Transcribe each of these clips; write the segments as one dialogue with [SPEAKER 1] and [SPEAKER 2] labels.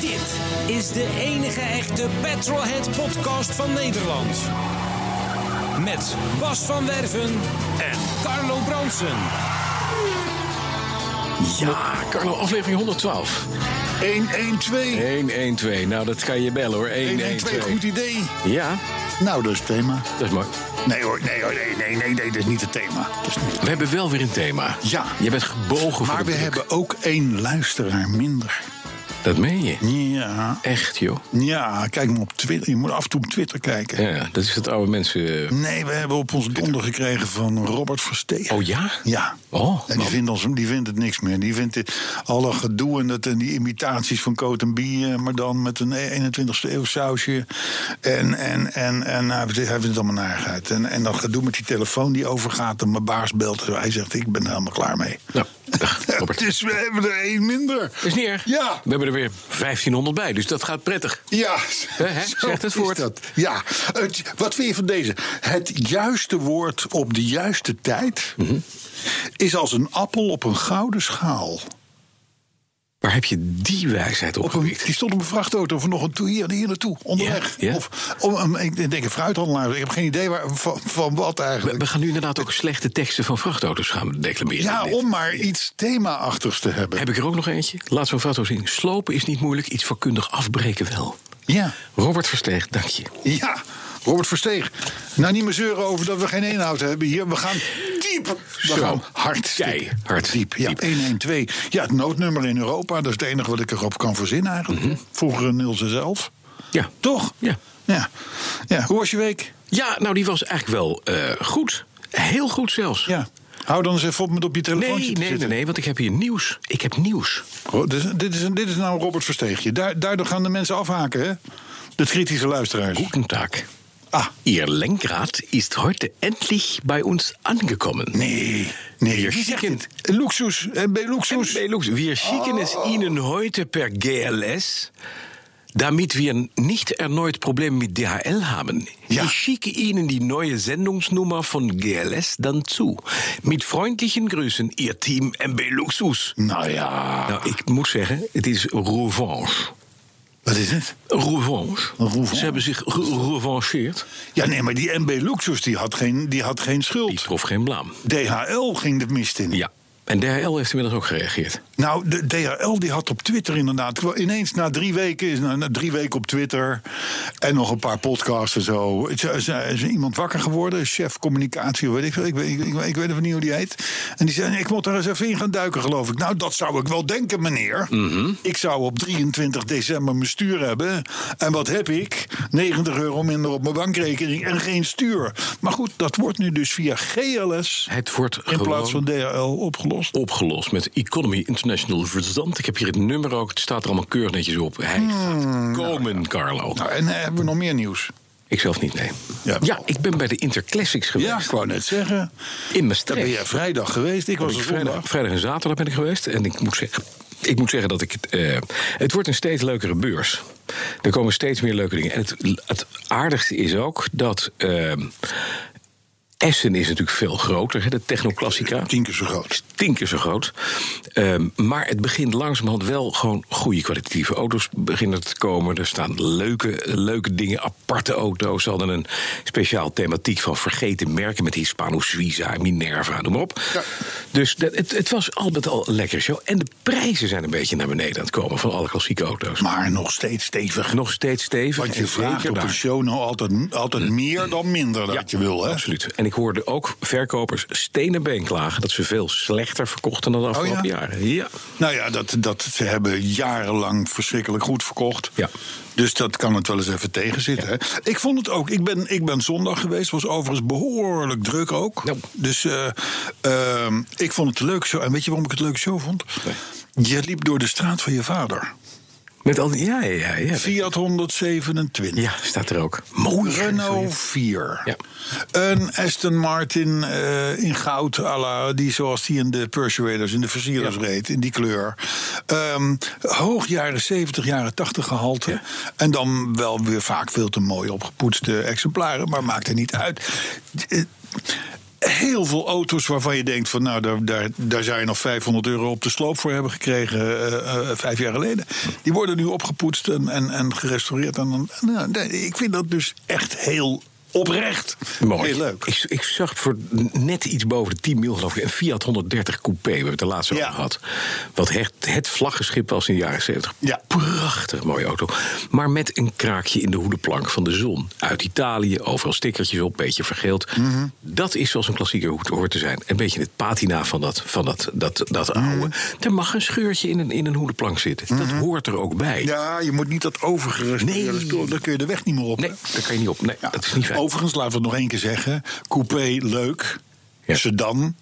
[SPEAKER 1] Dit is de enige echte Petrolhead podcast van Nederland. Met Bas van Werven en Carlo Bronsen.
[SPEAKER 2] Ja, Carlo, aflevering 112.
[SPEAKER 3] 112.
[SPEAKER 2] 112. Nou, dat kan je bellen hoor.
[SPEAKER 3] 112,
[SPEAKER 2] 112.
[SPEAKER 3] goed idee.
[SPEAKER 2] Ja,
[SPEAKER 3] Nou, dat is het thema.
[SPEAKER 2] dat is mooi.
[SPEAKER 3] Nee hoor, nee hoor, nee, nee, nee, nee, dat is niet het thema. Dat is niet.
[SPEAKER 2] We hebben wel weer een thema.
[SPEAKER 3] Ja.
[SPEAKER 2] Je bent gebogen voor
[SPEAKER 3] Maar
[SPEAKER 2] de
[SPEAKER 3] we
[SPEAKER 2] druk.
[SPEAKER 3] hebben ook één luisteraar minder.
[SPEAKER 2] Dat meen je.
[SPEAKER 3] Ja.
[SPEAKER 2] Echt, joh.
[SPEAKER 3] Ja, kijk maar op Twitter. Je moet af en toe op Twitter kijken.
[SPEAKER 2] Ja, dat is het oude mensen... eh,
[SPEAKER 3] Nee, we hebben op ons donder gekregen van Robert Verstegen.
[SPEAKER 2] Oh ja?
[SPEAKER 3] Ja.
[SPEAKER 2] Oh,
[SPEAKER 3] En die
[SPEAKER 2] nou.
[SPEAKER 3] vindt, ons, die vindt het niks meer. Die vindt dit, alle gedoe en, dat, en die imitaties van Coat en Bie, eh, maar dan met een 21ste eeuw sausje. En, en, en, en hij vindt- hij vindt het allemaal narigheid. En, en dat gedoe met die telefoon die overgaat en mijn baas belt. Hij zegt, ik ben er helemaal klaar mee.
[SPEAKER 2] Nou, dag, Robert.
[SPEAKER 3] Dus we hebben er één minder.
[SPEAKER 2] Dat is niet erg.
[SPEAKER 3] Ja.
[SPEAKER 2] We hebben er weer 1500 bij, dus dat gaat prettig.
[SPEAKER 3] Ja,
[SPEAKER 2] Hè, hè?
[SPEAKER 3] zo
[SPEAKER 2] Zegt het
[SPEAKER 3] is
[SPEAKER 2] woord.
[SPEAKER 3] dat. Ja, het, wat vind je van deze? Het juiste woord op de juiste tijd
[SPEAKER 2] Mhm.
[SPEAKER 3] is als een appel op een gouden schaal.
[SPEAKER 2] Waar heb je die wijsheid op
[SPEAKER 3] Op een,
[SPEAKER 2] gepikt?
[SPEAKER 3] die stond op een vrachtauto vanochtend toe, hier, hier naartoe, onderweg.
[SPEAKER 2] Ja, ja.
[SPEAKER 3] Of om, om- ik denk een fruithandelaar, ik heb geen idee waar, van, van wat
[SPEAKER 2] We,
[SPEAKER 3] eigenlijk.
[SPEAKER 2] we gaan nu inderdaad ook slechte teksten van vrachtauto's gaan declameren.
[SPEAKER 3] ja,
[SPEAKER 2] Dit.
[SPEAKER 3] om maar iets thema-achtigs te hebben.
[SPEAKER 2] Heb ik er ook nog eentje? Laat zo'n foto zien. Slopen is niet moeilijk, iets vakkundig afbreken wel.
[SPEAKER 3] Ja,
[SPEAKER 2] Robert Versteeg, dank je.
[SPEAKER 3] ja. Robert Versteeg. Nou, niet meer zeuren over dat we geen inhoud hebben hier. We gaan diep. We
[SPEAKER 2] Zo.
[SPEAKER 3] gaan hard.
[SPEAKER 2] Jij,
[SPEAKER 3] stikken.
[SPEAKER 2] hard.
[SPEAKER 3] Diep. Ja,
[SPEAKER 2] Diep.
[SPEAKER 3] 112. Ja, het noodnummer in Europa. Dat is het enige wat ik erop kan verzinnen eigenlijk.
[SPEAKER 2] Mhm.
[SPEAKER 3] Vroeger een 011.
[SPEAKER 2] Ja.
[SPEAKER 3] Toch?
[SPEAKER 2] Ja.
[SPEAKER 3] ja. Ja. Hoe was je week?
[SPEAKER 2] Ja, nou die was eigenlijk wel eh, goed. Heel goed zelfs.
[SPEAKER 3] Ja. Hou dan eens even op met op je
[SPEAKER 2] Nee,
[SPEAKER 3] telefoontje
[SPEAKER 2] nee,
[SPEAKER 3] te
[SPEAKER 2] nee,
[SPEAKER 3] zitten.
[SPEAKER 2] nee, want ik heb hier nieuws. Ik heb nieuws.
[SPEAKER 3] Ro- dit, is, dit, is een, dit is nou een Robert Versteegje. Daar, daardoor gaan de mensen afhaken, hè? De kritische luisteraars.
[SPEAKER 2] Goedendag.
[SPEAKER 3] Ah,
[SPEAKER 2] Ihr Lenkrad ist heute endlich bei uns angekommen.
[SPEAKER 3] nee. Nee,
[SPEAKER 2] Hier
[SPEAKER 3] wie zegt
[SPEAKER 2] chicken.
[SPEAKER 3] dit? Luxus. En bij Luxus.
[SPEAKER 2] Hey, Lux, wir schicken es
[SPEAKER 3] Oh.
[SPEAKER 2] Ihnen heute per GLS, damit wir nicht erneut Probleme mit DHL haben.
[SPEAKER 3] Ja.
[SPEAKER 2] Ich schicke Ihnen die neue Sendungsnummer von GLS dann zu. Mit freundlichen Grüßen, Ihr Team MB Luxus.
[SPEAKER 3] Nou ja.
[SPEAKER 2] Nou, ik moet zeggen, het is revanche.
[SPEAKER 3] Wat is het?
[SPEAKER 2] Revanche.
[SPEAKER 3] Revanche.
[SPEAKER 2] Ze hebben zich re- revancheerd.
[SPEAKER 3] Ja, nee, maar die MB Luxus die had geen, die had geen
[SPEAKER 2] Die
[SPEAKER 3] schuld.
[SPEAKER 2] trof geen blaam.
[SPEAKER 3] DHL ging de mist in.
[SPEAKER 2] Ja. En DHL heeft inmiddels ook gereageerd.
[SPEAKER 3] Nou, de DHL die had op Twitter inderdaad... wel ineens na drie weken, is- na, na drie weken op Twitter... en nog een paar podcasts en zo... is, is- is iemand wakker geworden, chef communicatie, weet ik veel. Ik, weet- ik, ik, ik weet even niet hoe die heet. En die zei, ik moet er eens even in gaan duiken, geloof ik. Nou, dat zou ik wel denken, meneer. Ik zou op 23 december mijn stuur hebben. En wat heb ik? 90 euro minder op mijn bankrekening en geen stuur. Maar goed, dat wordt nu dus via GLS...
[SPEAKER 2] Het wordt
[SPEAKER 3] in
[SPEAKER 2] gewoon
[SPEAKER 3] plaats van DHL opgelost.
[SPEAKER 2] opgelost met Economy International Verzand. Ik heb hier het nummer ook. Het staat er allemaal keurnetjes op. Hij gaat komen, Carlo.
[SPEAKER 3] Hmm. Nou, en eh, hebben we nog meer nieuws?
[SPEAKER 2] Ik zelf niet, nee.
[SPEAKER 3] Ja.
[SPEAKER 2] Ja, ik ben bij de Interclassics
[SPEAKER 3] Ja, ik
[SPEAKER 2] geweest.
[SPEAKER 3] wou net
[SPEAKER 2] in
[SPEAKER 3] zeggen. Daar ben jij
[SPEAKER 2] Maastricht.
[SPEAKER 3] vrijdag geweest. Ik was
[SPEAKER 2] Ik
[SPEAKER 3] er
[SPEAKER 2] vrijdag,
[SPEAKER 3] zondag.
[SPEAKER 2] vrijdag en zaterdag ben ik geweest. En ik moet zeggen, ik moet zeggen dat ik het. eh, het wordt een steeds leukere beurs. Er komen steeds meer leuke dingen. En het, het aardigste is ook dat. eh, Essen is natuurlijk veel groter, hè, de technoclassica.
[SPEAKER 3] Tien keer zo groot.
[SPEAKER 2] tien keer zo groot. Ehm, maar het begint langzamerhand wel gewoon goede kwalitatieve auto's beginnen te komen. Er staan leuke, leuke dingen, aparte auto's. Ze hadden een speciaal thematiek van vergeten merken met Hispano Suiza, Minerva, noem maar op.
[SPEAKER 3] Ja.
[SPEAKER 2] Dus dat, het, het was al met al een lekkere show. En de prijzen zijn een beetje naar beneden aan het komen van alle klassieke auto's.
[SPEAKER 3] Maar nog steeds stevig.
[SPEAKER 2] Nog steeds stevig.
[SPEAKER 3] Want
[SPEAKER 2] en
[SPEAKER 3] je vraagt
[SPEAKER 2] zeker
[SPEAKER 3] op
[SPEAKER 2] daar. Mm.
[SPEAKER 3] een show nou altijd, altijd meer dan minder dat je wil, hè?
[SPEAKER 2] Absoluut. En ik hoorde ook verkopers stenen been klagen dat ze veel slechter verkochten dan de afgelopen
[SPEAKER 3] Oh ja?
[SPEAKER 2] jaren. Ja.
[SPEAKER 3] Nou ja, dat, dat, ze hebben jarenlang verschrikkelijk goed verkocht.
[SPEAKER 2] Ja.
[SPEAKER 3] Dus dat kan het wel eens even tegenzitten. Hè? Ik vond het ook. Ik ben, ik ben zondag geweest. Was overigens behoorlijk druk ook.
[SPEAKER 2] Nou.
[SPEAKER 3] Dus eh, ehm, ik vond het een leuk show. En weet je waarom ik het leuk show vond?
[SPEAKER 2] Nee.
[SPEAKER 3] Je liep door de straat van je vader.
[SPEAKER 2] Met al die, ja, ja, ja.
[SPEAKER 3] Fiat 127.
[SPEAKER 2] Ja, staat er ook.
[SPEAKER 3] Een
[SPEAKER 2] Mooi.
[SPEAKER 3] Renault 4.
[SPEAKER 2] Ja.
[SPEAKER 3] Een Aston Martin eh, in goud, à la, die zoals die in de Persuaders, in de Versierers
[SPEAKER 2] Ja.
[SPEAKER 3] reed, in die kleur. Ehm, hoog jaren 70, jaren 80 gehalte. En dan wel weer vaak veel te mooi opgepoetste exemplaren, maar maakt er niet uit. Eh, Heel veel auto's waarvan je denkt van nou, daar, daar, daar zou je nog 500 euro op de sloop voor hebben gekregen eh, eh, vijf jaar geleden. Die worden nu opgepoetst en, en, en gerestaureerd. En, dan- nou, nee, ik vind dat dus echt heel oprecht.
[SPEAKER 2] Mooi.
[SPEAKER 3] Heel leuk.
[SPEAKER 2] Ik, ik zag voor net iets boven de 10 mil, geloof ik, een Fiat 130 Coupé. We hebben het er laatst
[SPEAKER 3] Ja.
[SPEAKER 2] over gehad. Wat het, het vlaggenschip was in de jaren 70.
[SPEAKER 3] Ja.
[SPEAKER 2] Prachtig mooie auto. Maar met een kraakje in de hoedenplank van de zon. Uit Italië, overal stickertjes op, beetje vergeeld.
[SPEAKER 3] Mhm.
[SPEAKER 2] Dat is zoals een klassieker hoed hoort te zijn. Een beetje het patina van dat, van dat, dat, dat
[SPEAKER 3] Mhm.
[SPEAKER 2] oude. Er mag een scheurtje in een, in een hoedenplank zitten. Dat hoort er ook bij.
[SPEAKER 3] Ja, je moet niet dat overgerestaureerde
[SPEAKER 2] Nee.
[SPEAKER 3] stoel, Dan kun je de weg niet meer op.
[SPEAKER 2] Nee,
[SPEAKER 3] hè?
[SPEAKER 2] daar kan je niet op. Nee,
[SPEAKER 3] Ja.
[SPEAKER 2] dat is niet fijn.
[SPEAKER 3] Overigens, laten we het nog één keer zeggen. Coupé, leuk.
[SPEAKER 2] Ja.
[SPEAKER 3] Sedan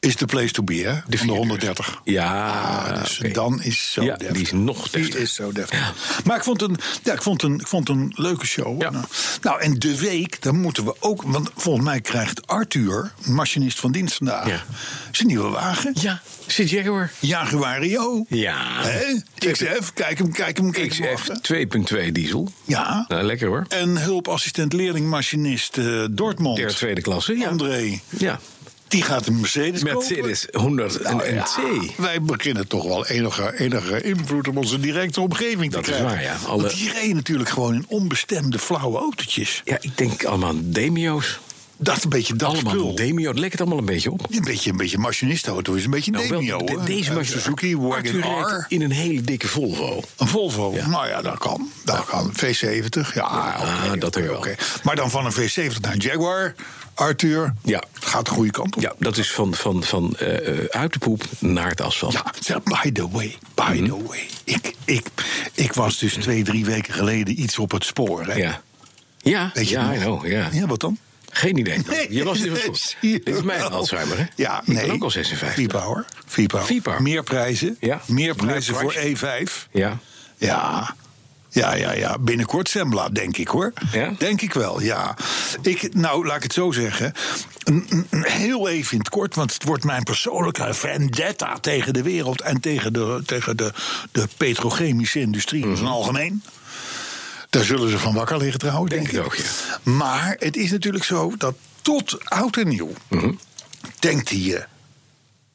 [SPEAKER 3] is de place to be, hè? van de
[SPEAKER 2] vierdeur.
[SPEAKER 3] 130.
[SPEAKER 2] Ja,
[SPEAKER 3] Ah, dus
[SPEAKER 2] oké.
[SPEAKER 3] dan is zo
[SPEAKER 2] Ja,
[SPEAKER 3] deftig.
[SPEAKER 2] die is nog
[SPEAKER 3] Die
[SPEAKER 2] deftig.
[SPEAKER 3] is zo deftig. Maar ik vond, een, ja, ik, vond een, ik vond een leuke show.
[SPEAKER 2] Ja.
[SPEAKER 3] Nou, Nou, en de week, dan moeten we ook... Want volgens mij krijgt Arthur, machinist van dienst vandaag...
[SPEAKER 2] Ja.
[SPEAKER 3] zijn nieuwe wagen.
[SPEAKER 2] Ja, zit Jaguar.
[SPEAKER 3] Jaguario.
[SPEAKER 2] Ja.
[SPEAKER 3] Hè? XF, kijk hem, kijk hem, kijk hem.
[SPEAKER 2] XF
[SPEAKER 3] af, hè?
[SPEAKER 2] 2.2 diesel.
[SPEAKER 3] Ja.
[SPEAKER 2] Nou, lekker hoor.
[SPEAKER 3] En hulpassistent leerlingmachinist eh Dortmund.
[SPEAKER 2] Derde, tweede klasse. Ja.
[SPEAKER 3] André,
[SPEAKER 2] Ja.
[SPEAKER 3] die gaat een Mercedes kopen.
[SPEAKER 2] Mercedes 100 en
[SPEAKER 3] Nou ja,
[SPEAKER 2] NC.
[SPEAKER 3] Wij beginnen toch wel enige, enige invloed op onze directe omgeving
[SPEAKER 2] Dat
[SPEAKER 3] te
[SPEAKER 2] is
[SPEAKER 3] krijgen.
[SPEAKER 2] waar, ja. Alle-
[SPEAKER 3] Want die reden natuurlijk gewoon in onbestemde flauwe autootjes.
[SPEAKER 2] Ja, ik denk allemaal aan Demio's.
[SPEAKER 3] Dat is een beetje dat
[SPEAKER 2] allemaal
[SPEAKER 3] spul.
[SPEAKER 2] Demio. Het leekt het allemaal een beetje op.
[SPEAKER 3] Een beetje, een beetje machinistauto is een beetje een
[SPEAKER 2] Nou, wel,
[SPEAKER 3] Demio.
[SPEAKER 2] de-
[SPEAKER 3] hè?
[SPEAKER 2] deze
[SPEAKER 3] Een
[SPEAKER 2] was
[SPEAKER 3] Suzuki, Wagon
[SPEAKER 2] Arthur
[SPEAKER 3] R.
[SPEAKER 2] reed in een hele dikke Volvo.
[SPEAKER 3] Een Volvo. Nou ja, dat kan. Dat kan. V70. Ja,
[SPEAKER 2] ah,
[SPEAKER 3] oké,
[SPEAKER 2] dat
[SPEAKER 3] oké,
[SPEAKER 2] wel.
[SPEAKER 3] oké. Maar dan van een V70 naar een Jaguar. Arthur.
[SPEAKER 2] Ja.
[SPEAKER 3] Het gaat de goede kant op.
[SPEAKER 2] Ja, dat is van, van, van eh, eh, uit de poep naar het asfalt.
[SPEAKER 3] Ja, zeg, by the way, by
[SPEAKER 2] Mhm.
[SPEAKER 3] the way. Ik, ik, ik was dus twee, drie weken geleden iets op het spoor. Hè?
[SPEAKER 2] Ja. Ja,
[SPEAKER 3] Weet je
[SPEAKER 2] ja, I
[SPEAKER 3] nog?
[SPEAKER 2] know, ja.
[SPEAKER 3] Ja, wat dan?
[SPEAKER 2] Geen idee. Je was niet
[SPEAKER 3] Nee,
[SPEAKER 2] goed.
[SPEAKER 3] zie je
[SPEAKER 2] Dit is mijn
[SPEAKER 3] wel.
[SPEAKER 2] Alzheimer, hè?
[SPEAKER 3] Ja,
[SPEAKER 2] Ik
[SPEAKER 3] nee.
[SPEAKER 2] ben ook al 56.
[SPEAKER 3] Vipa, hoor. Vipa.
[SPEAKER 2] Vipa.
[SPEAKER 3] Meer prijzen.
[SPEAKER 2] Ja.
[SPEAKER 3] Meer prijzen
[SPEAKER 2] Meer
[SPEAKER 3] voor E
[SPEAKER 2] prijzen.
[SPEAKER 3] E5.
[SPEAKER 2] Ja.
[SPEAKER 3] Ja. Ja, ja, ja. Binnenkort Sembla, denk ik hoor.
[SPEAKER 2] Ja?
[SPEAKER 3] Denk ik wel, ja. Ik, nou, laat ik het zo zeggen. Een- een- een Heel even in het kort, want het wordt mijn persoonlijke vendetta tegen de wereld en tegen de, tegen de, de petrochemische industrie in zijn algemeen. Daar zullen ze van wakker liggen trouwens, denk,
[SPEAKER 2] Denk
[SPEAKER 3] ik.
[SPEAKER 2] het ook,
[SPEAKER 3] Maar het is natuurlijk zo dat tot oud en nieuw
[SPEAKER 2] Mhm.
[SPEAKER 3] denkt hij je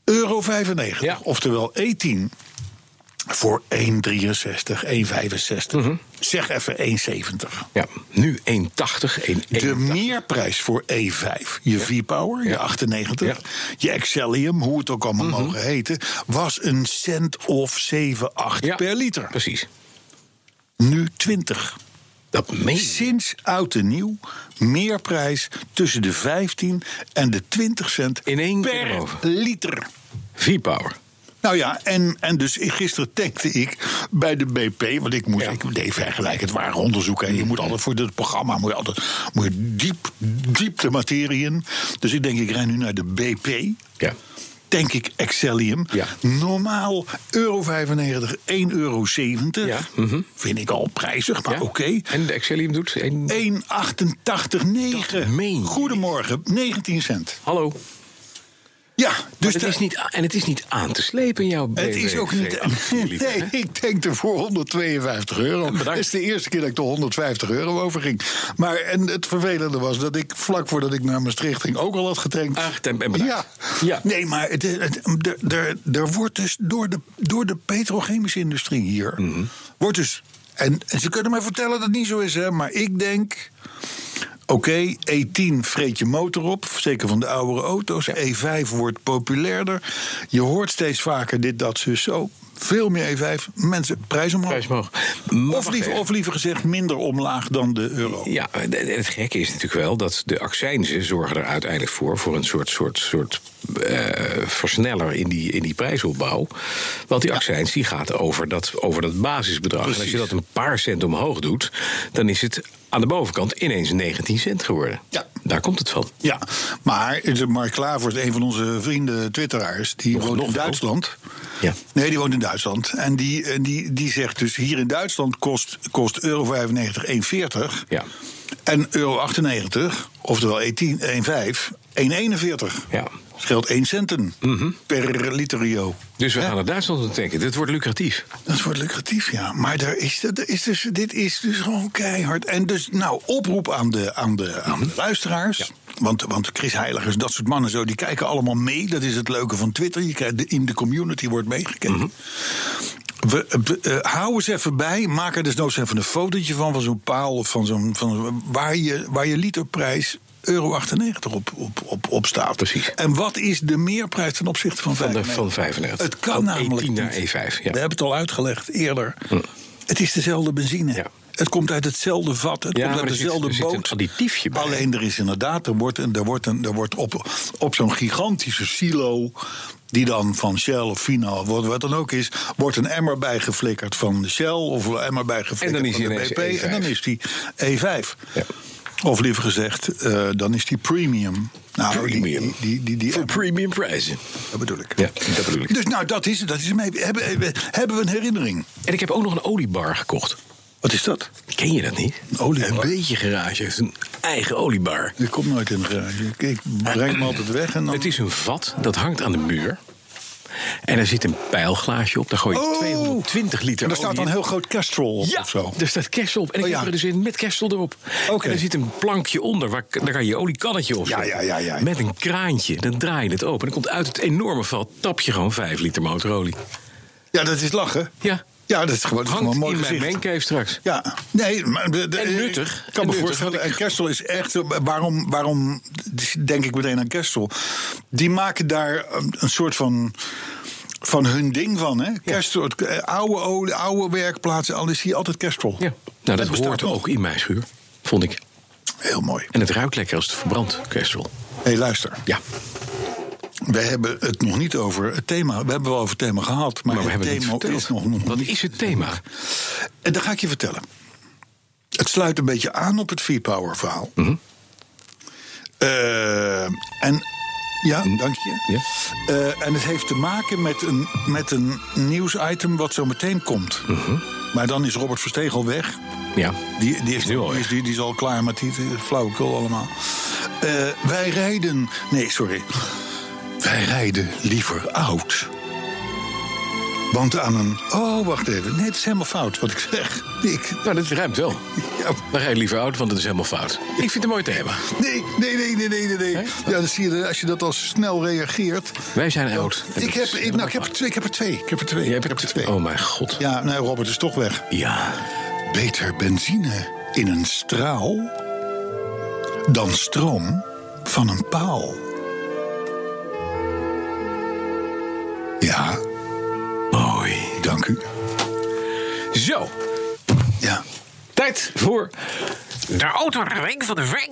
[SPEAKER 3] euro 95,
[SPEAKER 2] Ja.
[SPEAKER 3] oftewel E10 voor 1,63, 1,65.
[SPEAKER 2] Mhm.
[SPEAKER 3] Zeg even 1,70.
[SPEAKER 2] ja. Nu 1,80, 1,81.
[SPEAKER 3] De meerprijs voor E5, je V-Power, je
[SPEAKER 2] Ja.
[SPEAKER 3] 98,
[SPEAKER 2] Ja. Mhm.
[SPEAKER 3] je Excellium, hoe het ook allemaal mogen heten, was een cent of 7, 8
[SPEAKER 2] Ja,
[SPEAKER 3] per liter.
[SPEAKER 2] Precies.
[SPEAKER 3] Nu 20.
[SPEAKER 2] Dat meen je.
[SPEAKER 3] Sinds oud en nieuw meerprijs tussen de 15 en de 20 cent
[SPEAKER 2] In één keer
[SPEAKER 3] per
[SPEAKER 2] omhoog.
[SPEAKER 3] liter.
[SPEAKER 2] V-Power.
[SPEAKER 3] Nou ja, en, en dus gisteren tankte ik bij de BP. Want ik moest,
[SPEAKER 2] Ja. Mm.
[SPEAKER 3] ik deed vergelijkend waar onderzoek. En je moet altijd voor dit programma moet je altijd moet je diep, diep de materie in. Dus ik denk, ik rijd nu naar de BP.
[SPEAKER 2] Ja.
[SPEAKER 3] Tank ik Excellium.
[SPEAKER 2] Ja.
[SPEAKER 3] Normaal euro 95, 1,70 euro.
[SPEAKER 2] Ja, mhm.
[SPEAKER 3] Vind ik al prijzig, maar
[SPEAKER 2] Ja.
[SPEAKER 3] oké.
[SPEAKER 2] En de Excellium doet? één-
[SPEAKER 3] 1,88,9.
[SPEAKER 2] Dat meen je.
[SPEAKER 3] Goedemorgen, 19 cent.
[SPEAKER 2] Hallo.
[SPEAKER 3] Ja,
[SPEAKER 2] Dus
[SPEAKER 3] dus
[SPEAKER 2] het
[SPEAKER 3] daar-
[SPEAKER 2] is niet, a- en het is niet aan te slepen in jouw
[SPEAKER 3] Het is ook niet. Nee, ik denk er voor 152 euro.
[SPEAKER 2] bedankt.
[SPEAKER 3] Dat is de eerste keer dat ik er 150 euro over ging. Maar en het vervelende was dat ik vlak voordat ik naar Maastricht ging ook al had getankt.
[SPEAKER 2] Ach, en- en bedankt.
[SPEAKER 3] Ja.
[SPEAKER 2] Ja.
[SPEAKER 3] Nee, maar het, het- er- er- er wordt dus door de, door de petrochemische industrie hier.
[SPEAKER 2] Mhm.
[SPEAKER 3] Wordt dus. En, en ze kunnen mij vertellen dat het niet zo is, hè, maar ik denk. Oké, E10 vreet je motor op, zeker van de oudere auto's. E5 wordt populairder. Je hoort steeds vaker dit, dat, zus, zo. Veel meer E5. Mensen, prijs omhoog.
[SPEAKER 2] Prijs omhoog.
[SPEAKER 3] Of, liever, of liever gezegd, minder omlaag dan de euro.
[SPEAKER 2] Ja, en het gekke is natuurlijk wel dat de accijnzen zorgen er uiteindelijk voor... voor een soort, soort, soort eh, versneller in die, in die prijsopbouw. Want die accijns die gaat over dat, over dat basisbedrag. En als je dat een paar cent omhoog doet, dan is het aan de bovenkant ineens 19 cent geworden.
[SPEAKER 3] Ja.
[SPEAKER 2] Daar komt het van.
[SPEAKER 3] Ja, maar Mark Klavers, een van onze vrienden, twitteraars, die woont
[SPEAKER 2] nog
[SPEAKER 3] in
[SPEAKER 2] wel.
[SPEAKER 3] Duitsland.
[SPEAKER 2] Ja.
[SPEAKER 3] Nee, die woont in Duitsland. En die, en die, die zegt dus, hier in Duitsland kost, kost euro 95 1,40.
[SPEAKER 2] Ja.
[SPEAKER 3] En euro 98, oftewel E 1,10 1,5, 1,41.
[SPEAKER 2] Ja.
[SPEAKER 3] Scheelt 1 centen per liter Rio.
[SPEAKER 2] Dus we gaan naar Duitsland toe tanken. Dit wordt lucratief.
[SPEAKER 3] Dat wordt lucratief, ja. Maar daar is, dat is dus, dit is dus gewoon keihard. En dus, nou, oproep aan de, aan de, aan de luisteraars. Want, want Chris Heiligers, dat soort mannen zo, die kijken allemaal mee. Dat is het leuke van Twitter. Je krijgt de, in de community wordt meegekeken. We, we, eh, hou eens even bij. Maak er desnoods even een fotootje van. Van zo'n paal of van zo'n. Van, zo'n- waar, je, waar je literprijs euro 98 op, op, op, op staat.
[SPEAKER 2] Precies.
[SPEAKER 3] En wat is de meerprijs ten opzichte van
[SPEAKER 2] Van, de,
[SPEAKER 3] 95?
[SPEAKER 2] van 35.
[SPEAKER 3] Het kan
[SPEAKER 2] Van
[SPEAKER 3] namelijk.
[SPEAKER 2] E10 naar
[SPEAKER 3] niet.
[SPEAKER 2] E5.
[SPEAKER 3] We
[SPEAKER 2] Ja. Hm.
[SPEAKER 3] hebben het al uitgelegd eerder. Het is dezelfde benzine.
[SPEAKER 2] Ja.
[SPEAKER 3] Het komt uit hetzelfde vat. Het
[SPEAKER 2] Ja,
[SPEAKER 3] komt
[SPEAKER 2] maar
[SPEAKER 3] uit
[SPEAKER 2] er zit-
[SPEAKER 3] dezelfde
[SPEAKER 2] er zit
[SPEAKER 3] boot.
[SPEAKER 2] een additiefje bij.
[SPEAKER 3] Alleen er is inderdaad, er wordt, een, er wordt, een, er wordt op, op zo'n gigantische silo. Die dan van Shell of Fina of wat, wat dan ook is, wordt een emmer bijgeflikkerd van Shell of een emmer bijgeflikkerd
[SPEAKER 2] En dan is
[SPEAKER 3] van
[SPEAKER 2] hij
[SPEAKER 3] de
[SPEAKER 2] ineens E5.
[SPEAKER 3] BP. En dan is die E E5.
[SPEAKER 2] Ja.
[SPEAKER 3] Of liever gezegd, eh, dan is die premium. Nou, die-
[SPEAKER 2] Premium.
[SPEAKER 3] Die, die, die, die
[SPEAKER 2] Voor premium prijzen.
[SPEAKER 3] dat bedoel ik.
[SPEAKER 2] Ja, dat bedoel ik.
[SPEAKER 3] Dus nou, dat is het. Dat is hem. Hebben, hebben, hebben we een herinnering?
[SPEAKER 2] En ik heb ook nog een oliebar gekocht.
[SPEAKER 3] Wat is dat?
[SPEAKER 2] Ken je dat niet?
[SPEAKER 3] Een oliebar?
[SPEAKER 2] Een beetje garage heeft een eigen oliebar.
[SPEAKER 3] Ik kom nooit in de garage. Ik, ik breng hem altijd weg en dan...
[SPEAKER 2] Het is een vat dat hangt aan de muur. En er zit een pijlglaasje op. Daar gooi je
[SPEAKER 3] Oh!
[SPEAKER 2] 220 liter
[SPEAKER 3] En daar staat
[SPEAKER 2] olie
[SPEAKER 3] dan
[SPEAKER 2] in.
[SPEAKER 3] een heel groot Castrol op
[SPEAKER 2] Ja,
[SPEAKER 3] of zo.
[SPEAKER 2] er staat kerstel op. En ik
[SPEAKER 3] Oh,
[SPEAKER 2] heb
[SPEAKER 3] ja.
[SPEAKER 2] er dus in met kerstel erop.
[SPEAKER 3] Oké.
[SPEAKER 2] En er zit een plankje onder, waar, daar kan je je oliekannetje op
[SPEAKER 3] Ja,
[SPEAKER 2] zetten.
[SPEAKER 3] ja, ja, ja, ja.
[SPEAKER 2] Met een kraantje, dan draai je het open. En dan komt uit het enorme vat, tap je gewoon 5 liter motorolie.
[SPEAKER 3] Ja, dat is lachen.
[SPEAKER 2] Ja,
[SPEAKER 3] Ja, dat is gewoon, dat is gewoon
[SPEAKER 2] hangt
[SPEAKER 3] een mooi
[SPEAKER 2] in mijn
[SPEAKER 3] gezicht.
[SPEAKER 2] mancave straks.
[SPEAKER 3] Ja, nee, maar... de- de-
[SPEAKER 2] En nuttig.
[SPEAKER 3] Ik kan
[SPEAKER 2] En
[SPEAKER 3] me
[SPEAKER 2] nuttig.
[SPEAKER 3] voorstellen, en Kerstel is echt... zo- Waarom, waarom denk ik meteen aan Kerstel? Die maken daar een, een soort van... Van hun ding van, hè? Kerstel, het- eh, oude olie, oude werkplaatsen, al is hier altijd Kerstel.
[SPEAKER 2] Ja. Nou, dat,
[SPEAKER 3] bestaat
[SPEAKER 2] hoort
[SPEAKER 3] nog.
[SPEAKER 2] ook in mijn schuur, vond ik.
[SPEAKER 3] Heel mooi.
[SPEAKER 2] En het ruikt lekker als het verbrandt, kerstel.
[SPEAKER 3] Hé, hey, luister.
[SPEAKER 2] Ja,
[SPEAKER 3] We hebben het nog niet over het thema. We hebben wel over het thema gehad, maar,
[SPEAKER 2] maar we
[SPEAKER 3] het
[SPEAKER 2] hebben het niet
[SPEAKER 3] thema
[SPEAKER 2] verteld.
[SPEAKER 3] is nog nog
[SPEAKER 2] Wat
[SPEAKER 3] niet.
[SPEAKER 2] is het thema?
[SPEAKER 3] En Eh, dat ga ik je vertellen. Het sluit een beetje aan op het V-Power verhaal. Eh, en ja, dank je.
[SPEAKER 2] Ja.
[SPEAKER 3] Eh, en het heeft te maken met een, met een nieuwsitem wat zo meteen komt. Maar dan is Robert Versteeg al weg.
[SPEAKER 2] Ja,
[SPEAKER 3] Die, die, is,
[SPEAKER 2] Nu al
[SPEAKER 3] die, is,
[SPEAKER 2] weg.
[SPEAKER 3] die, die is al klaar met die die flauwekul allemaal. Eh, wij rijden... Nee, sorry. Wij rijden liever oud. Want aan een... Oh, wacht even. Nee, het is helemaal fout wat ik zeg. Ik,
[SPEAKER 2] nou, dat ruimt wel.
[SPEAKER 3] ja,
[SPEAKER 2] Dan ga je liever oud, want het is helemaal fout. Ik vind het een mooi thema.
[SPEAKER 3] nee, nee, nee, nee, nee, nee. nee.
[SPEAKER 2] Nee?
[SPEAKER 3] Ja, dan zie je, als je dat al snel reageert...
[SPEAKER 2] Wij zijn oud.
[SPEAKER 3] Ik heb, ik, nou, ik, heb er twee, ik heb er twee. Ik heb er twee.
[SPEAKER 2] Jij
[SPEAKER 3] ik heb
[SPEAKER 2] hebt
[SPEAKER 3] er
[SPEAKER 2] het
[SPEAKER 3] twee.
[SPEAKER 2] Oh mijn god.
[SPEAKER 3] Ja, nee, Robert is toch weg.
[SPEAKER 2] Ja.
[SPEAKER 3] Beter benzine in een straal dan stroom van een paal. Ja,
[SPEAKER 2] Mooi.
[SPEAKER 3] dank u.
[SPEAKER 2] Zo,
[SPEAKER 3] Ja.
[SPEAKER 2] tijd voor de autoring van de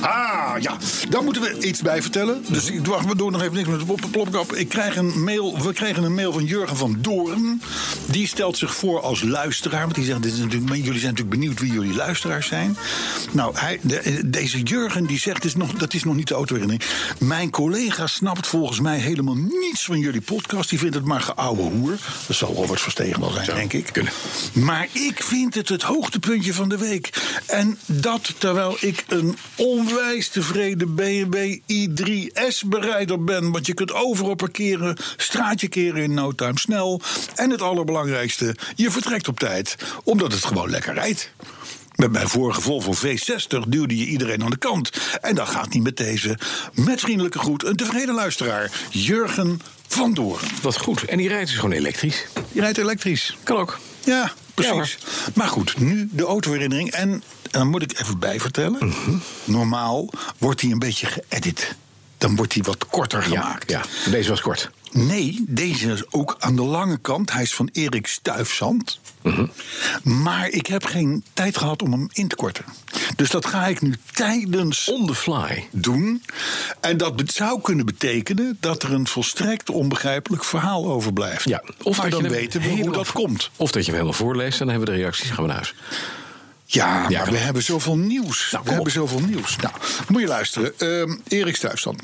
[SPEAKER 3] Ah, ja. Daar moeten we iets bij vertellen. Dus ik wacht, we doen nog even niks met de plop- plopkap. Ik krijg een mail, we kregen een mail van Jurgen van Doorn. Die stelt zich voor als luisteraar. Want die zegt, dit is natuurlijk, jullie zijn natuurlijk benieuwd wie jullie luisteraars zijn. Nou, hij, de- deze Jurgen die zegt, is nog, dat is nog niet de autoherinnering. Mijn collega snapt volgens mij helemaal niets van jullie podcast. Die vindt het maar geouwe hoer. Dat zal Robert Verstegen wel zijn, denk ik.
[SPEAKER 2] kunnen.
[SPEAKER 3] Maar ik vind het het hoogtepuntje van de week. En dat terwijl ik een onwijs tevreden BMW i3S-berijder ben. Want je kunt overal parkeren, straatje keren in no time snel. En het allerbelangrijkste, je vertrekt op tijd. Omdat het gewoon lekker rijdt. Met mijn vorige Volvo V60 duwde je iedereen aan de kant. En dat gaat niet met deze. Met vriendelijke groet, een tevreden luisteraar, Jurgen van Doorn.
[SPEAKER 2] Wat goed. En die rijdt dus gewoon elektrisch.
[SPEAKER 3] Je rijdt elektrisch.
[SPEAKER 2] Kan ook.
[SPEAKER 3] Ja,
[SPEAKER 2] Ja,
[SPEAKER 3] precies.
[SPEAKER 2] hoor.
[SPEAKER 3] maar goed, nu de autoherinnering. En, en dan moet ik even bijvertellen.
[SPEAKER 2] Mhm.
[SPEAKER 3] Normaal wordt die een beetje geëdit. Dan wordt die wat korter gemaakt.
[SPEAKER 2] Ja, ja. Deze was kort.
[SPEAKER 3] Nee, deze is ook aan de lange kant. Hij is van Erik Stuyfzand.
[SPEAKER 2] Mhm.
[SPEAKER 3] Maar ik heb geen tijd gehad om hem in te korten. Dus dat ga ik nu tijdens
[SPEAKER 2] On the fly.
[SPEAKER 3] doen. En dat bet- zou kunnen betekenen dat er een volstrekt onbegrijpelijk verhaal overblijft.
[SPEAKER 2] Ja.
[SPEAKER 3] Of maar
[SPEAKER 2] dat
[SPEAKER 3] dan
[SPEAKER 2] je hem
[SPEAKER 3] weten we hoe
[SPEAKER 2] helemaal-
[SPEAKER 3] dat komt.
[SPEAKER 2] Of dat je hem helemaal voorleest en dan hebben we de reacties. Gaan we naar huis.
[SPEAKER 3] Ja, maar we
[SPEAKER 2] geloof ik.
[SPEAKER 3] hebben zoveel nieuws.
[SPEAKER 2] Nou,
[SPEAKER 3] we
[SPEAKER 2] kom
[SPEAKER 3] hebben
[SPEAKER 2] op.
[SPEAKER 3] zoveel nieuws. Nou, moet je luisteren. Ehm Erik Stuyfstand.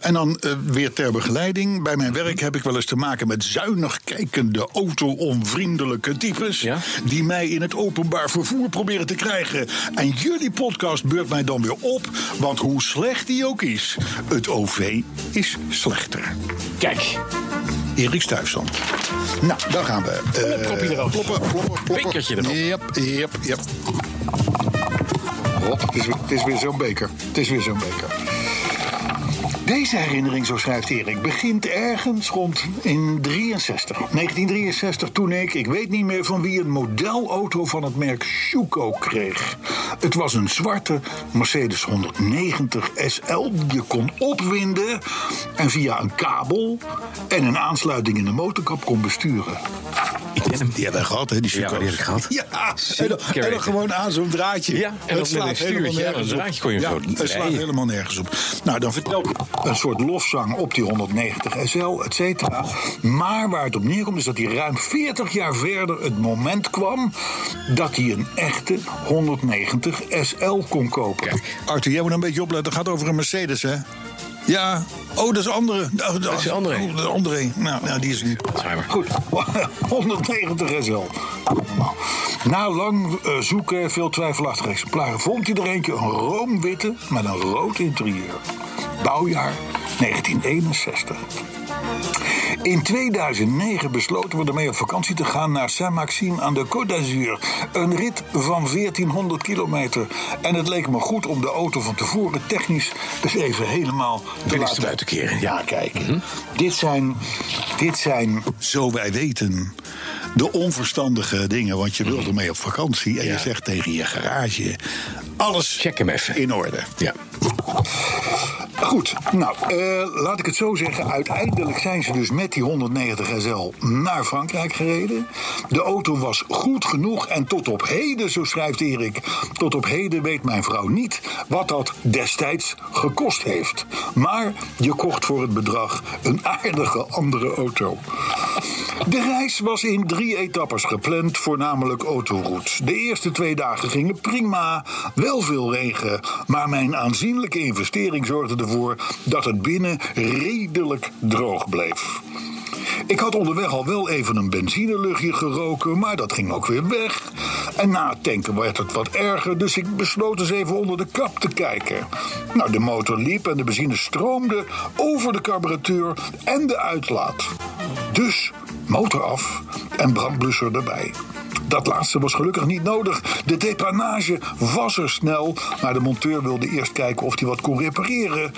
[SPEAKER 3] En dan eh, weer ter begeleiding. Bij mijn werk heb ik wel eens te maken met zuinig kijkende, auto-onvriendelijke types.
[SPEAKER 2] Ja?
[SPEAKER 3] Die mij in het openbaar vervoer proberen te krijgen. En jullie podcast beurt mij dan weer op. Want hoe slecht die ook is, het OV is slechter.
[SPEAKER 2] Kijk,
[SPEAKER 3] Erik Stuyfstand. Nou, daar gaan we. Eh,
[SPEAKER 2] propje eraf.
[SPEAKER 3] Ploppen, ploppen, ploppen.
[SPEAKER 2] Bekertje erop.
[SPEAKER 3] Yep, yep, yep. Hop, het is, weer- het is weer zo'n beker. Het is weer zo'n beker. Deze herinnering, zo schrijft Erik, begint ergens rond in 63. 1963 toen ik, ik weet niet meer van wie, een modelauto van het merk Schuko kreeg. Het was een zwarte Mercedes 190 SL. Je kon opwinden en via een kabel en een aansluiting in de motorkap kon besturen.
[SPEAKER 2] ik ken hem.
[SPEAKER 3] Die hebben we gehad, hè, die
[SPEAKER 2] Ja,
[SPEAKER 3] Schuko's.
[SPEAKER 2] maar die heb ik gehad.
[SPEAKER 3] Ja, en
[SPEAKER 2] Zeker
[SPEAKER 3] dan, en dan
[SPEAKER 2] weten.
[SPEAKER 3] gewoon aan zo'n draadje.
[SPEAKER 2] Ja, en dan
[SPEAKER 3] dat
[SPEAKER 2] met
[SPEAKER 3] slaat
[SPEAKER 2] een
[SPEAKER 3] helemaal
[SPEAKER 2] stuurtje, ja,
[SPEAKER 3] nergens
[SPEAKER 2] een
[SPEAKER 3] op.
[SPEAKER 2] draadje kon je hem
[SPEAKER 3] ja,
[SPEAKER 2] zo-
[SPEAKER 3] Het slaat
[SPEAKER 2] Nee.
[SPEAKER 3] helemaal nergens op. Nou, dan vertelt een soort lofzang op die 190 SL, et cetera. Maar waar het op neerkomt is dat hij ruim 40 jaar verder het moment kwam... dat hij een echte 190 SL kon kopen.
[SPEAKER 2] Kijk.
[SPEAKER 3] Arthur, jij moet een beetje opletten. Het gaat over een Mercedes, hè? Ja. Oh, dat is andere. Dat,
[SPEAKER 2] is André.
[SPEAKER 3] Oh, dat is André. Nou, nou, die is niet.
[SPEAKER 2] Alzheimer.
[SPEAKER 3] Goed, 190 SL. Na lang eh, zoeken, veel twijfelachtige exemplaren, vond hij er eentje een roomwitte met een rood interieur. Bouwjaar 1961. In 2009 besloten we ermee op vakantie te gaan naar Saint-Maxime aan de Côte d'Azur. Een rit van 1400 kilometer. En het leek me goed om de auto van tevoren technisch dus even helemaal te
[SPEAKER 2] Kennis
[SPEAKER 3] laten
[SPEAKER 2] te buiten keren, ja.
[SPEAKER 3] Ja, kijk.
[SPEAKER 2] Mhm.
[SPEAKER 3] dit, zijn, dit zijn, zo wij weten, de onverstandige dingen. Want je wilt ermee op vakantie en
[SPEAKER 2] Mhm. Ja.
[SPEAKER 3] je zegt tegen je garage... alles
[SPEAKER 2] Check hem even.
[SPEAKER 3] in orde.
[SPEAKER 2] Ja.
[SPEAKER 3] Goed, nou, eh, laat ik het zo zeggen. Uiteindelijk zijn ze dus met die 190 SL naar Frankrijk gereden. De auto was goed genoeg en tot op heden, zo schrijft Erik... tot op heden weet mijn vrouw niet wat dat destijds gekost heeft. Maar je kocht voor het bedrag een aardige andere auto. De reis was in drie etappes gepland, voornamelijk autoroutes. De eerste twee dagen gingen prima, wel veel regen. Maar mijn aanzienlijke investering zorgde ervoor dat het binnen redelijk droog bleef. Ik had onderweg al wel even een benzineluchtje geroken, maar dat ging ook weer weg. En na het tanken werd het wat erger, dus ik besloot eens even onder de kap te kijken. Nou, de motor liep en de benzine stroomde over de carburateur en de uitlaat. Dus motor af en brandblusser erbij. Dat laatste was gelukkig niet nodig. De depanage was er snel, maar de monteur wilde eerst kijken of hij wat kon repareren.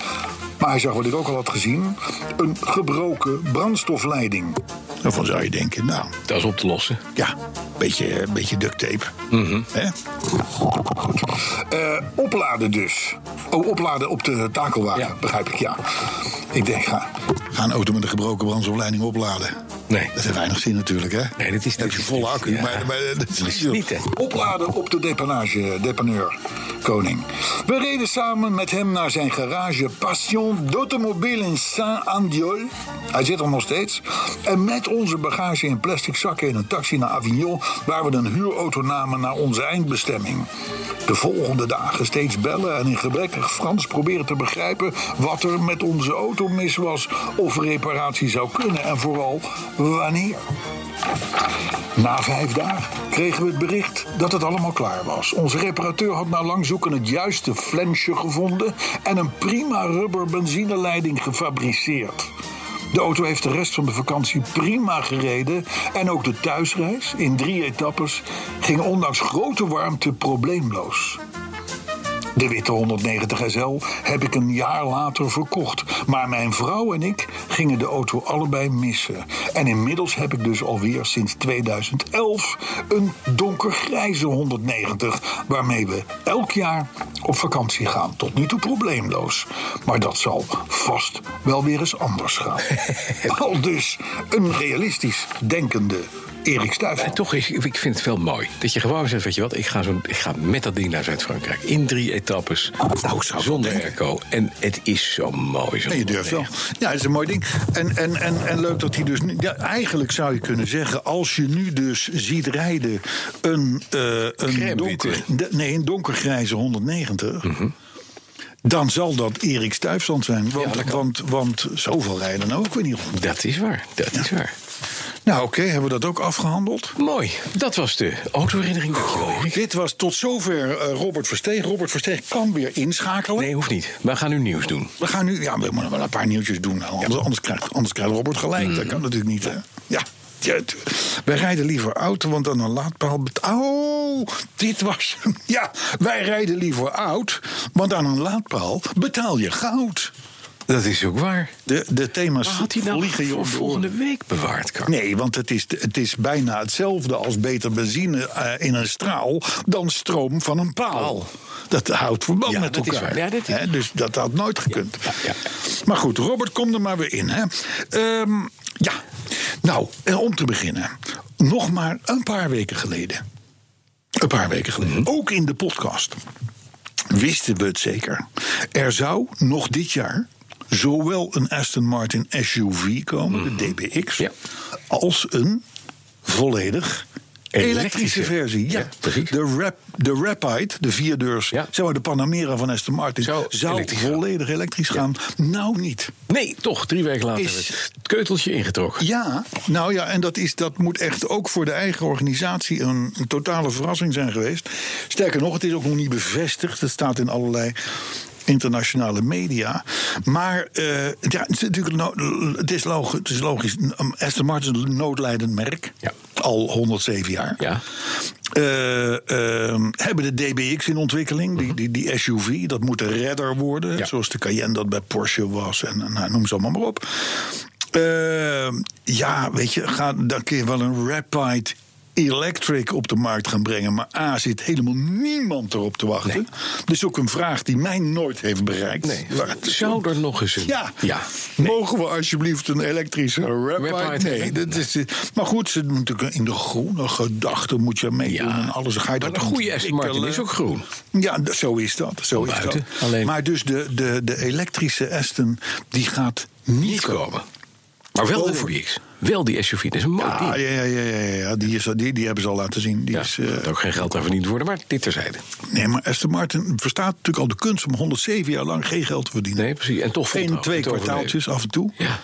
[SPEAKER 3] Maar hij zag wat ik ook al had gezien: een gebroken brandstofleiding. Daarvan zou je denken, nou,
[SPEAKER 2] Dat is op te lossen.
[SPEAKER 3] ja, beetje, beetje duct tape.
[SPEAKER 2] Mhm.
[SPEAKER 3] Hè? Goed. Eh, opladen dus. Oh, opladen op de takelwagen,
[SPEAKER 2] Ja.
[SPEAKER 3] begrijp ik, ja. Ik denk, ga, ga een auto met een gebroken brandstofleiding opladen.
[SPEAKER 2] Nee.
[SPEAKER 3] Dat heeft weinig zin natuurlijk, hè?
[SPEAKER 2] Nee, dat is-
[SPEAKER 3] Dan heb je
[SPEAKER 2] dat is-
[SPEAKER 3] volle accu.
[SPEAKER 2] ja.
[SPEAKER 3] Maar, maar dat is niet zo.
[SPEAKER 2] Niet, hè?
[SPEAKER 3] Opladen op de depanage, depaneur, koning. We reden samen met hem naar zijn garage Passion d'Automobile in Saint-Andiol. Hij zit er nog steeds. En met onze bagage in plastic zakken in een taxi naar Avignon... waar we een huurauto namen naar onze eindbestemming. De volgende dagen steeds bellen en in gebrekkig Frans proberen te begrijpen... wat er met onze auto mis was, of reparatie zou kunnen en vooral wanneer. Na vijf dagen kregen we het bericht dat het allemaal klaar was. Onze reparateur had na lang zoeken het juiste flensje gevonden en een prima rubber benzineleiding gefabriceerd. De auto heeft de rest van de vakantie prima gereden en ook de thuisreis in drie etappes ging ondanks grote warmte probleemloos. De witte 190 SL heb ik een jaar later verkocht. Maar mijn vrouw en ik gingen de auto allebei missen. En inmiddels heb ik dus alweer sinds 2011 een donkergrijze 190... waarmee we elk jaar
[SPEAKER 4] op vakantie gaan. Tot nu toe probleemloos. Maar dat zal vast wel weer eens anders gaan. Al dus een realistisch denkende Erik
[SPEAKER 2] En
[SPEAKER 4] Stuyven.
[SPEAKER 2] toch, is, ik vind het wel mooi. Dat je gewoon zegt, weet je wat, ik ga, zo, ik ga met dat ding naar Zuid-Frankrijk. In drie etappes,
[SPEAKER 3] zou Oh, nou, ik wel
[SPEAKER 2] zonder
[SPEAKER 3] denken.
[SPEAKER 2] airco. En het is zo mooi. Zo
[SPEAKER 3] Nee, je durft wel.
[SPEAKER 2] mooi.
[SPEAKER 3] Ja, dat is een mooi ding. En, en, en, en leuk dat hij dus. nu- Ja, eigenlijk zou je kunnen zeggen, als je nu dus ziet rijden een, eh, een,
[SPEAKER 2] Crème
[SPEAKER 3] donker,
[SPEAKER 2] witte.
[SPEAKER 3] de- nee, een donkergrijze 190. Dan zal dat Erik Stuyvesant zijn. Want, want, want zoveel rijden nou ook weer niet rond.
[SPEAKER 2] Dat is waar, dat is waar.
[SPEAKER 3] Nou, oké, hebben we dat ook afgehandeld?
[SPEAKER 2] Mooi, dat was de autoherinnering. Dankjewel, Erik.
[SPEAKER 3] Dit was tot zover eh, Robert Versteeg. Robert Versteeg kan weer inschakelen.
[SPEAKER 2] Nee, hoeft niet. We gaan nu nieuws doen.
[SPEAKER 3] We gaan nu, ja, we moeten wel een paar nieuwtjes doen. nou, Anders, anders, krijgt, anders krijgt Robert gelijk.
[SPEAKER 2] Mm.
[SPEAKER 3] Dat kan natuurlijk niet, hè? Ja. ja, tu- Wij rijden liever auto, want dan een laadpaal betalen. Oh, dit was hem. Ja, wij rijden liever oud, want aan een laadpaal betaal je goud.
[SPEAKER 2] Dat is ook waar.
[SPEAKER 3] De, de thema's
[SPEAKER 2] Maar had hij nou
[SPEAKER 3] vliegen je
[SPEAKER 2] voor
[SPEAKER 3] om de
[SPEAKER 2] volgende
[SPEAKER 3] oren.
[SPEAKER 2] week bewaard, Kar?
[SPEAKER 3] Nee, want het is, het is bijna hetzelfde als beter benzine eh, in een straal dan stroom van een paal.
[SPEAKER 2] Paal.
[SPEAKER 3] Dat houdt verband
[SPEAKER 2] Ja,
[SPEAKER 3] met
[SPEAKER 2] dat is
[SPEAKER 3] elkaar.
[SPEAKER 2] waar. Ja, dat is-
[SPEAKER 3] Hè, dus dat had nooit gekund.
[SPEAKER 2] ja, ja.
[SPEAKER 3] Maar goed, Robert, kom er maar weer in. Hè. Ehm, ja, nou, eh, om te beginnen. Nog maar een paar weken geleden. Een paar weken geleden.
[SPEAKER 2] Mhm.
[SPEAKER 3] Ook in de podcast wisten we het zeker. Er zou nog dit jaar zowel een Aston Martin SUV komen, de DBX,
[SPEAKER 2] Mhm. Ja.
[SPEAKER 3] als een volledig elektrische,
[SPEAKER 2] Elektrische.
[SPEAKER 3] versie. Ja,
[SPEAKER 2] Ja, precies.
[SPEAKER 3] de, rap, de Rapide, de vierdeurs,
[SPEAKER 2] Ja.
[SPEAKER 3] zeg maar de Panamera van Aston Martin,
[SPEAKER 2] Zou
[SPEAKER 3] zou
[SPEAKER 2] elektrisch gaan.
[SPEAKER 3] volledig elektrisch gaan. Nou niet.
[SPEAKER 2] Nee, toch, drie weken later
[SPEAKER 3] Is-
[SPEAKER 2] hebben we het keuteltje ingetrokken.
[SPEAKER 3] Ja, nou ja, en dat, is, dat moet echt ook voor de eigen organisatie een, een totale verrassing zijn geweest. Sterker nog, het is ook nog niet bevestigd. Het staat in allerlei internationale media. Maar eh, ja, het, is natuurlijk no- het, is logisch, het is logisch. Aston Martin is een noodlijdend merk.
[SPEAKER 2] Ja.
[SPEAKER 3] Al 107 jaar.
[SPEAKER 2] Ja.
[SPEAKER 3] Eh, ehm, hebben de DBX in ontwikkeling, die, die, die SUV, dat moet de redder worden.
[SPEAKER 2] Mhm. Ja.
[SPEAKER 3] Zoals de Cayenne dat bij Porsche was en en, nou, noem ze allemaal maar op. Ehm, ja, weet je, ga, dan kun je wel een Rapide Electric op de markt gaan brengen. Maar A, zit helemaal niemand erop te wachten. Dus ook een vraag die mij nooit heeft bereikt.
[SPEAKER 2] Nee.
[SPEAKER 3] Waar het-
[SPEAKER 2] Zou er nog eens een...
[SPEAKER 3] ja.
[SPEAKER 2] ja.
[SPEAKER 3] Mogen we alsjeblieft een elektrische Rapide?
[SPEAKER 2] Rapide,
[SPEAKER 3] Nee,
[SPEAKER 2] nee.
[SPEAKER 3] dat is, maar goed, ze moeten natuurlijk in de groene gedachten moet je meedoen
[SPEAKER 2] Ja.
[SPEAKER 3] en alles. Dan Ga je
[SPEAKER 2] Maar
[SPEAKER 3] dat
[SPEAKER 2] een goede Aston Martin
[SPEAKER 3] ontwikkelen.
[SPEAKER 2] is ook groen.
[SPEAKER 3] Ja, d- zo is dat. Zo is dat.
[SPEAKER 2] buiten, alleen-
[SPEAKER 3] Maar dus de, de, de elektrische Aston, die gaat niet,
[SPEAKER 2] Niet
[SPEAKER 3] komen.
[SPEAKER 2] komen. Maar wel de
[SPEAKER 3] Over.
[SPEAKER 2] DBX. Wel die SUV, dat is een mooi
[SPEAKER 3] Ah,
[SPEAKER 2] ding.
[SPEAKER 3] ja, ja, ja, ja, ja. Die, is, al- die, die hebben ze al laten zien. Die
[SPEAKER 2] Ja,
[SPEAKER 3] is, eh,
[SPEAKER 2] er gaat ook geen geld aan verdiend worden, maar dit terzijde.
[SPEAKER 3] nee, maar Aston Martin verstaat natuurlijk al de kunst om 107 jaar lang geen geld te verdienen.
[SPEAKER 2] Nee, precies. En toch
[SPEAKER 3] Geen
[SPEAKER 2] volhouden,
[SPEAKER 3] twee
[SPEAKER 2] het overleven.
[SPEAKER 3] kwartaaltjes af en toe.
[SPEAKER 2] Ja.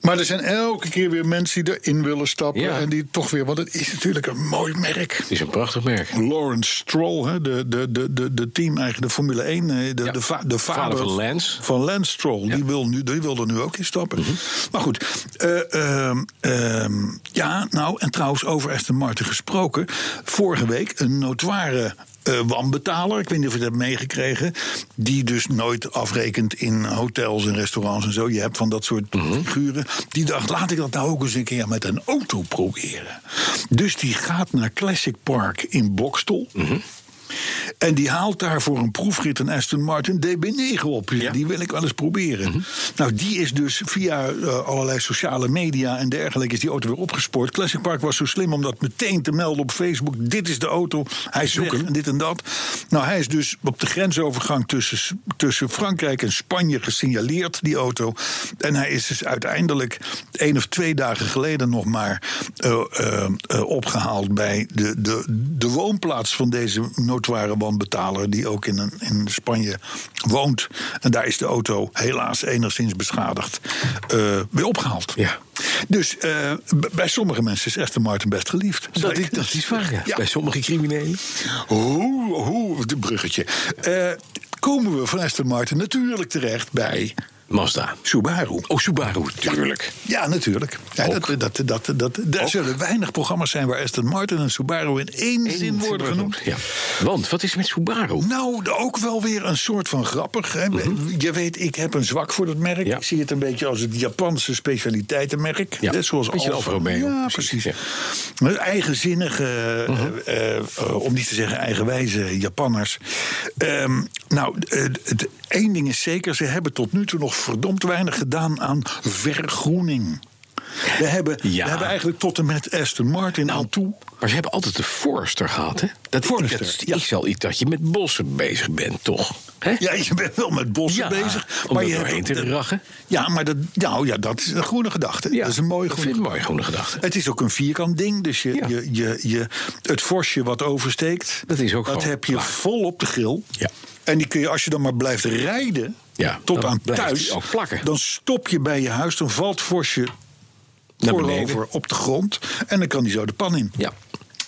[SPEAKER 3] Maar er zijn elke keer weer mensen die erin willen stappen.
[SPEAKER 2] Ja.
[SPEAKER 3] En die toch weer, want het is natuurlijk een mooi merk.
[SPEAKER 2] Het is een prachtig merk.
[SPEAKER 3] Lawrence Stroll, hè, de, de, de, de, de team-eigen, de Formule eh, 1, hè, de,
[SPEAKER 2] Ja.
[SPEAKER 3] de, va- de
[SPEAKER 2] Vader
[SPEAKER 3] vader
[SPEAKER 2] van Lance. Mhm.
[SPEAKER 3] van Lance Stroll. Die, wil nu, die wil er nu ook in stappen. Maar goed, eh, ehm, ehm, ja, nou, en trouwens over Aston Martin gesproken. Vorige week een notoire eh, wanbetaler, ik weet niet of je dat hebt meegekregen... die dus nooit afrekent in hotels en restaurants en zo. Je hebt van dat soort
[SPEAKER 2] Mhm.
[SPEAKER 3] figuren. Die dacht, laat ik dat nou ook eens een keer met een auto proberen. Dus die gaat naar Classic Park in Bokstel...
[SPEAKER 2] Mhm.
[SPEAKER 3] En die haalt daar voor een proefrit een Aston Martin DB9 op. Die wil ik wel eens proberen. Nou, die is dus via eh, allerlei sociale media en dergelijke... is die auto weer opgespoord. Classic Park was zo slim om dat meteen te melden op Facebook. Dit is de auto, hij zoekt hem, dit en dat. Nou, hij is dus op de grensovergang tussen, tussen Frankrijk en Spanje gesignaleerd, die auto. En hij is dus uiteindelijk één of twee dagen geleden nog maar eh, eh, eh, opgehaald bij de, de, de woonplaats van deze notoire wanbetaler, die ook in, een- in Spanje woont. En daar is de auto helaas enigszins beschadigd eh weer opgehaald.
[SPEAKER 2] Ja.
[SPEAKER 3] Dus eh, b- bij sommige mensen is Aston Martin best geliefd.
[SPEAKER 2] Dat is, dat is waar, ja.
[SPEAKER 3] Ja.
[SPEAKER 2] Bij sommige criminelen.
[SPEAKER 3] Hoe, hoe, de bruggetje. Eh, komen we van Aston Martin natuurlijk terecht bij
[SPEAKER 2] Mazda.
[SPEAKER 3] Subaru.
[SPEAKER 2] Oh, Subaru, natuurlijk.
[SPEAKER 3] Ja, natuurlijk. Ja,
[SPEAKER 2] Ook.
[SPEAKER 3] dat, dat, dat, dat, er zullen weinig programma's zijn waar Aston Martin en Subaru in één zin worden genoemd.
[SPEAKER 2] Ja. Want, wat is er met Subaru?
[SPEAKER 3] Nou, ook wel weer een soort van grappig. Hè? Je weet, ik heb een zwak voor dat merk.
[SPEAKER 2] Mhm. Ja.
[SPEAKER 3] Ik zie het een beetje als het Japanse specialiteitenmerk.
[SPEAKER 2] Ja,
[SPEAKER 3] Net zoals
[SPEAKER 2] een beetje Alfa Romeo.
[SPEAKER 3] Ja,
[SPEAKER 2] Precies, Mhm.
[SPEAKER 3] precies. Maar Eigenzinnige, eh, eh, eh, om niet te zeggen eigenwijze Japanners. Ehm, nou, eh, het, één ding is zeker. Ze hebben tot nu toe nog verdomd weinig gedaan aan vergroening. We hebben,
[SPEAKER 2] Ja. Nou,
[SPEAKER 3] we hebben eigenlijk tot en met Aston Martin aan toe...
[SPEAKER 2] Maar ze hebben altijd de Forester gehad, hè? Dat,
[SPEAKER 3] Forester,
[SPEAKER 2] dat is,
[SPEAKER 3] ja.
[SPEAKER 2] is wel iets dat je met bossen bezig bent, toch? Hè?
[SPEAKER 3] Ja, je bent wel met bossen
[SPEAKER 2] Ja,
[SPEAKER 3] bezig.
[SPEAKER 2] om er doorheen te
[SPEAKER 3] dat-
[SPEAKER 2] rachen.
[SPEAKER 3] Ja, maar dat, nou, ja, dat is een groene gedachte.
[SPEAKER 2] Ja,
[SPEAKER 3] dat is een mooie
[SPEAKER 2] ik
[SPEAKER 3] groene
[SPEAKER 2] vind het een mooie groene gedachte.
[SPEAKER 3] Het is ook een vierkant ding. Dus je,
[SPEAKER 2] Ja.
[SPEAKER 3] je, je, je, het forsje wat oversteekt,
[SPEAKER 2] Dat is ook
[SPEAKER 3] dat
[SPEAKER 2] gewoon
[SPEAKER 3] heb je
[SPEAKER 2] klaar.
[SPEAKER 3] vol op de grill.
[SPEAKER 2] Ja.
[SPEAKER 3] En die kun je, als je dan maar blijft rijden
[SPEAKER 2] Ja,
[SPEAKER 3] tot
[SPEAKER 2] dan
[SPEAKER 3] aan
[SPEAKER 2] blijft
[SPEAKER 3] thuis,
[SPEAKER 2] die ook plakken.
[SPEAKER 3] dan stop je bij je huis, dan valt het forsje
[SPEAKER 2] Naar
[SPEAKER 3] voorover
[SPEAKER 2] beneden.
[SPEAKER 3] op de grond en dan kan die zo de pan in.
[SPEAKER 2] Ja.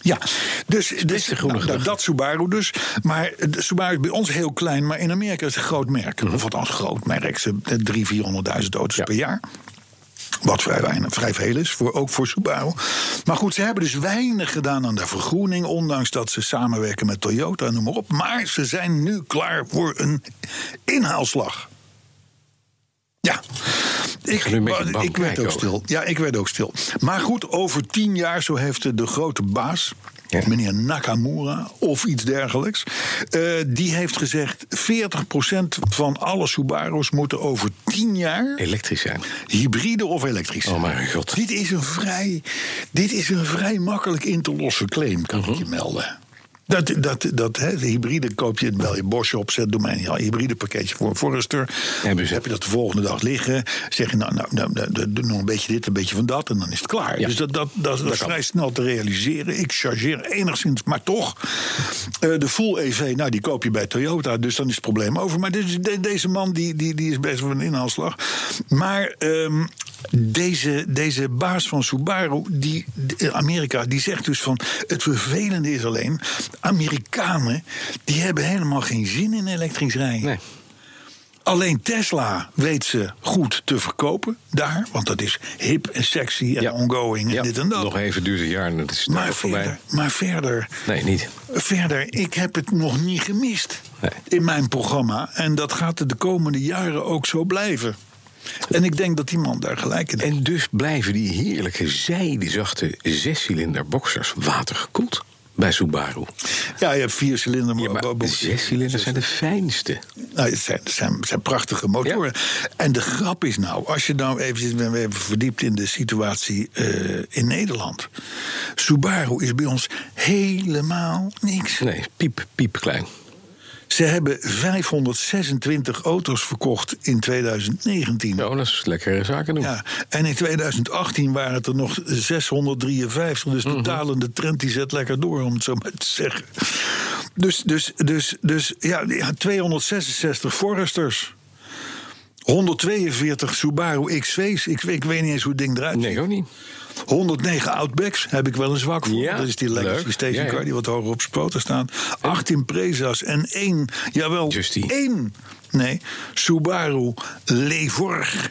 [SPEAKER 3] Ja, dus, dus
[SPEAKER 2] een groene
[SPEAKER 3] nou,
[SPEAKER 2] gedachte.
[SPEAKER 3] dat Subaru dus. Maar eh, de Subaru is bij ons heel klein, maar in Amerika is het een groot merk. Of althans groot merk, ze eh, 300.000, 400.000 auto's
[SPEAKER 2] Mhm. Ja.
[SPEAKER 3] per jaar. Wat vrij, weinig, vrij veel is, voor, ook voor Subaru. Maar goed, ze hebben dus weinig gedaan aan de vergroening... ondanks dat ze samenwerken met Toyota, noem maar op. Maar ze zijn nu klaar voor een inhaalslag. Ja. Ik,
[SPEAKER 2] ga nu een beetje bang
[SPEAKER 3] ik werd
[SPEAKER 2] kijken
[SPEAKER 3] ook
[SPEAKER 2] ook.
[SPEAKER 3] stil. Ja, ik werd ook stil. Maar goed, over tien jaar, zo heeft de- de grote baas...
[SPEAKER 2] Ja.
[SPEAKER 3] meneer Nakamura of iets dergelijks... eh, die heeft gezegd... 40% van alle Subaru's moeten over tien jaar...
[SPEAKER 2] Elektrisch zijn.
[SPEAKER 3] hybride of elektrisch zijn.
[SPEAKER 2] Oh mijn god.
[SPEAKER 3] Dit is een vrij, dit is een vrij makkelijk in te lossen claim, kan
[SPEAKER 2] Mhm.
[SPEAKER 3] ik je melden. Dat, dat, dat hè, de hybride koop je, bel je Bosch op, zet doe mij niet al een hybride pakketje voor een Forester.
[SPEAKER 2] Hebben ze.
[SPEAKER 3] Heb je dat de volgende dag liggen, zeg je nou, nou, nou, nou, nou, doe nog een beetje dit, een beetje van dat en dan is het klaar.
[SPEAKER 2] Ja.
[SPEAKER 3] Dus dat, dat, dat, dat is
[SPEAKER 2] kan.
[SPEAKER 3] vrij snel te realiseren. Ik chargeer enigszins, maar toch. Eh, de full EV, nou die koop je bij Toyota, dus dan is het probleem over. Maar dit is- de- deze man die, die, die is best wel een inhaalslag. Maar ehm, deze, deze baas van Subaru, die, de- eh, Amerika, die zegt dus van... het vervelende is alleen, Amerikanen die hebben helemaal geen zin in elektrisch rijden.
[SPEAKER 2] Nee.
[SPEAKER 3] Alleen Tesla weet ze goed te verkopen daar. Want dat is hip en sexy en
[SPEAKER 2] Ja.
[SPEAKER 3] ongoing en
[SPEAKER 2] Ja,
[SPEAKER 3] dit en dat.
[SPEAKER 2] Nog even duurt een jaar en het is daar
[SPEAKER 3] maar
[SPEAKER 2] voorbij.
[SPEAKER 3] verder, maar verder,
[SPEAKER 2] Nee, niet.
[SPEAKER 3] verder, ik heb het nog niet gemist
[SPEAKER 2] Nee.
[SPEAKER 3] in mijn programma. En dat gaat de komende jaren ook zo blijven. En ik denk dat die man daar gelijk in heeft.
[SPEAKER 2] En dus blijven die heerlijke zijdezachte zescilinder boxers watergekoeld bij Subaru.
[SPEAKER 3] Ja, je hebt vier cilinder.
[SPEAKER 2] Ja, maar de zescilinders zijn de fijnste.
[SPEAKER 3] Nou, het zijn, het zijn, het zijn prachtige motoren. En de grap is nou, als je nou eventjes we hebben even verdiept in de situatie eh, in Nederland. Subaru is bij ons helemaal niks.
[SPEAKER 2] Nee, piep, piep klein.
[SPEAKER 3] Ze hebben 526 auto's verkocht in 2019.
[SPEAKER 2] Nou, dat is lekkere zaken doen.
[SPEAKER 3] Ja, en in 2018 waren het er nog 653. Dus
[SPEAKER 2] Mhm.
[SPEAKER 3] de dalende trend die zet lekker door, om het zo maar te zeggen. Dus, dus, dus, dus ja, ja, 266 Foresters. 142 Subaru XV's. Ik, ik weet niet eens hoe het ding eruit ziet.
[SPEAKER 2] Nee, ook niet.
[SPEAKER 3] 109 Outbacks heb ik wel een zwak voor.
[SPEAKER 2] Ja,
[SPEAKER 3] dat is die Legacy
[SPEAKER 2] leuk.
[SPEAKER 3] Station
[SPEAKER 2] Ja, ja.
[SPEAKER 3] Car die wat hoger op zijn poten staat. 18 Preza's en één, jawel,
[SPEAKER 2] Justy.
[SPEAKER 3] één, nee, Subaru Levorg.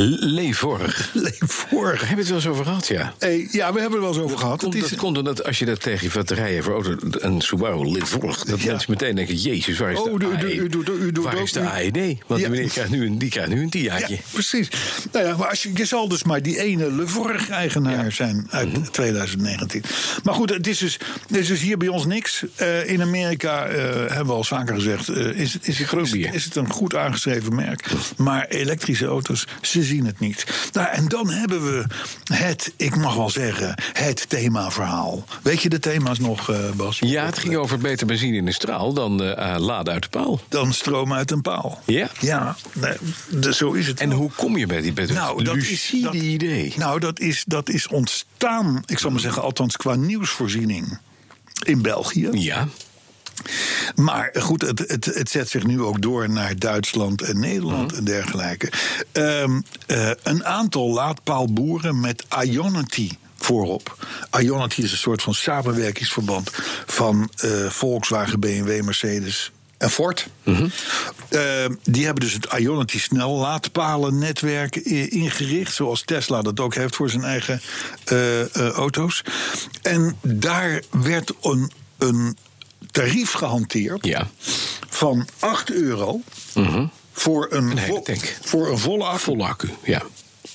[SPEAKER 2] Le- Levorig.
[SPEAKER 3] Levorg.
[SPEAKER 2] Daar hebben we het wel eens over gehad, ja.
[SPEAKER 3] Hey, ja, we hebben er wel eens over gehad.
[SPEAKER 2] Komt,
[SPEAKER 3] Het is,
[SPEAKER 2] dat komt omdat als je dat tegen je batterijen voor auto, een Subaru Livorg, dat
[SPEAKER 3] Ja.
[SPEAKER 2] mensen meteen denken, jezus, waar is
[SPEAKER 3] Oh,
[SPEAKER 2] de
[SPEAKER 3] u- u-
[SPEAKER 2] AE?
[SPEAKER 3] u doet- u doet
[SPEAKER 2] waar
[SPEAKER 3] ook
[SPEAKER 2] is de
[SPEAKER 3] nu-
[SPEAKER 2] AED? Want
[SPEAKER 3] Ja.
[SPEAKER 2] die meneer krijgt nu een, die krijgt nu een
[SPEAKER 3] ja,
[SPEAKER 2] diaatje.
[SPEAKER 3] precies. Nou ja, maar als je, je zal dus maar die ene Levorg-eigenaar zijn uit
[SPEAKER 2] Mhm.
[SPEAKER 3] 2019. Maar goed, het is, dus, het is dus hier bij ons niks. Eh, in Amerika, eh, hebben we al vaker gezegd, eh, is, is, het- is,
[SPEAKER 2] bier.
[SPEAKER 3] is het een goed aangeschreven merk. Maar elektrische auto's, ze zien het niet. Nou, en dan hebben we het, ik mag wel zeggen, het themaverhaal. Weet je de thema's nog, eh, Bas?
[SPEAKER 2] Ja, het ging over beter benzine in de straal dan eh, eh, laden uit de paal.
[SPEAKER 3] Dan stroom uit een paal.
[SPEAKER 2] Ja.
[SPEAKER 3] Ja, nee, de- zo is het.
[SPEAKER 2] En hoe kom je bij die bij
[SPEAKER 3] Nou, dat is,
[SPEAKER 2] lucide
[SPEAKER 3] dat-
[SPEAKER 2] idee?
[SPEAKER 3] Nou, dat is, dat is ontstaan, ik zal maar zeggen, althans qua nieuwsvoorziening in België.
[SPEAKER 2] ja,
[SPEAKER 3] Maar goed, het, het, het zet zich nu ook door naar Duitsland en Nederland en dergelijke. Ehm, eh, een aantal laadpaalboeren met Ionity voorop. Ionity is een soort van samenwerkingsverband van eh, Volkswagen, BMW, Mercedes. en Ford. Eh, die hebben dus het Ionity snellaadpalennetwerk i- ingericht. Zoals Tesla dat ook heeft voor zijn eigen eh, eh, auto's. En daar werd een, een tarief gehanteerd
[SPEAKER 2] Ja. Mhm.
[SPEAKER 3] van 8 euro. Voor een,
[SPEAKER 2] hele
[SPEAKER 3] vo-
[SPEAKER 2] tank.
[SPEAKER 3] voor een volle accu.
[SPEAKER 2] Volle accu, ja.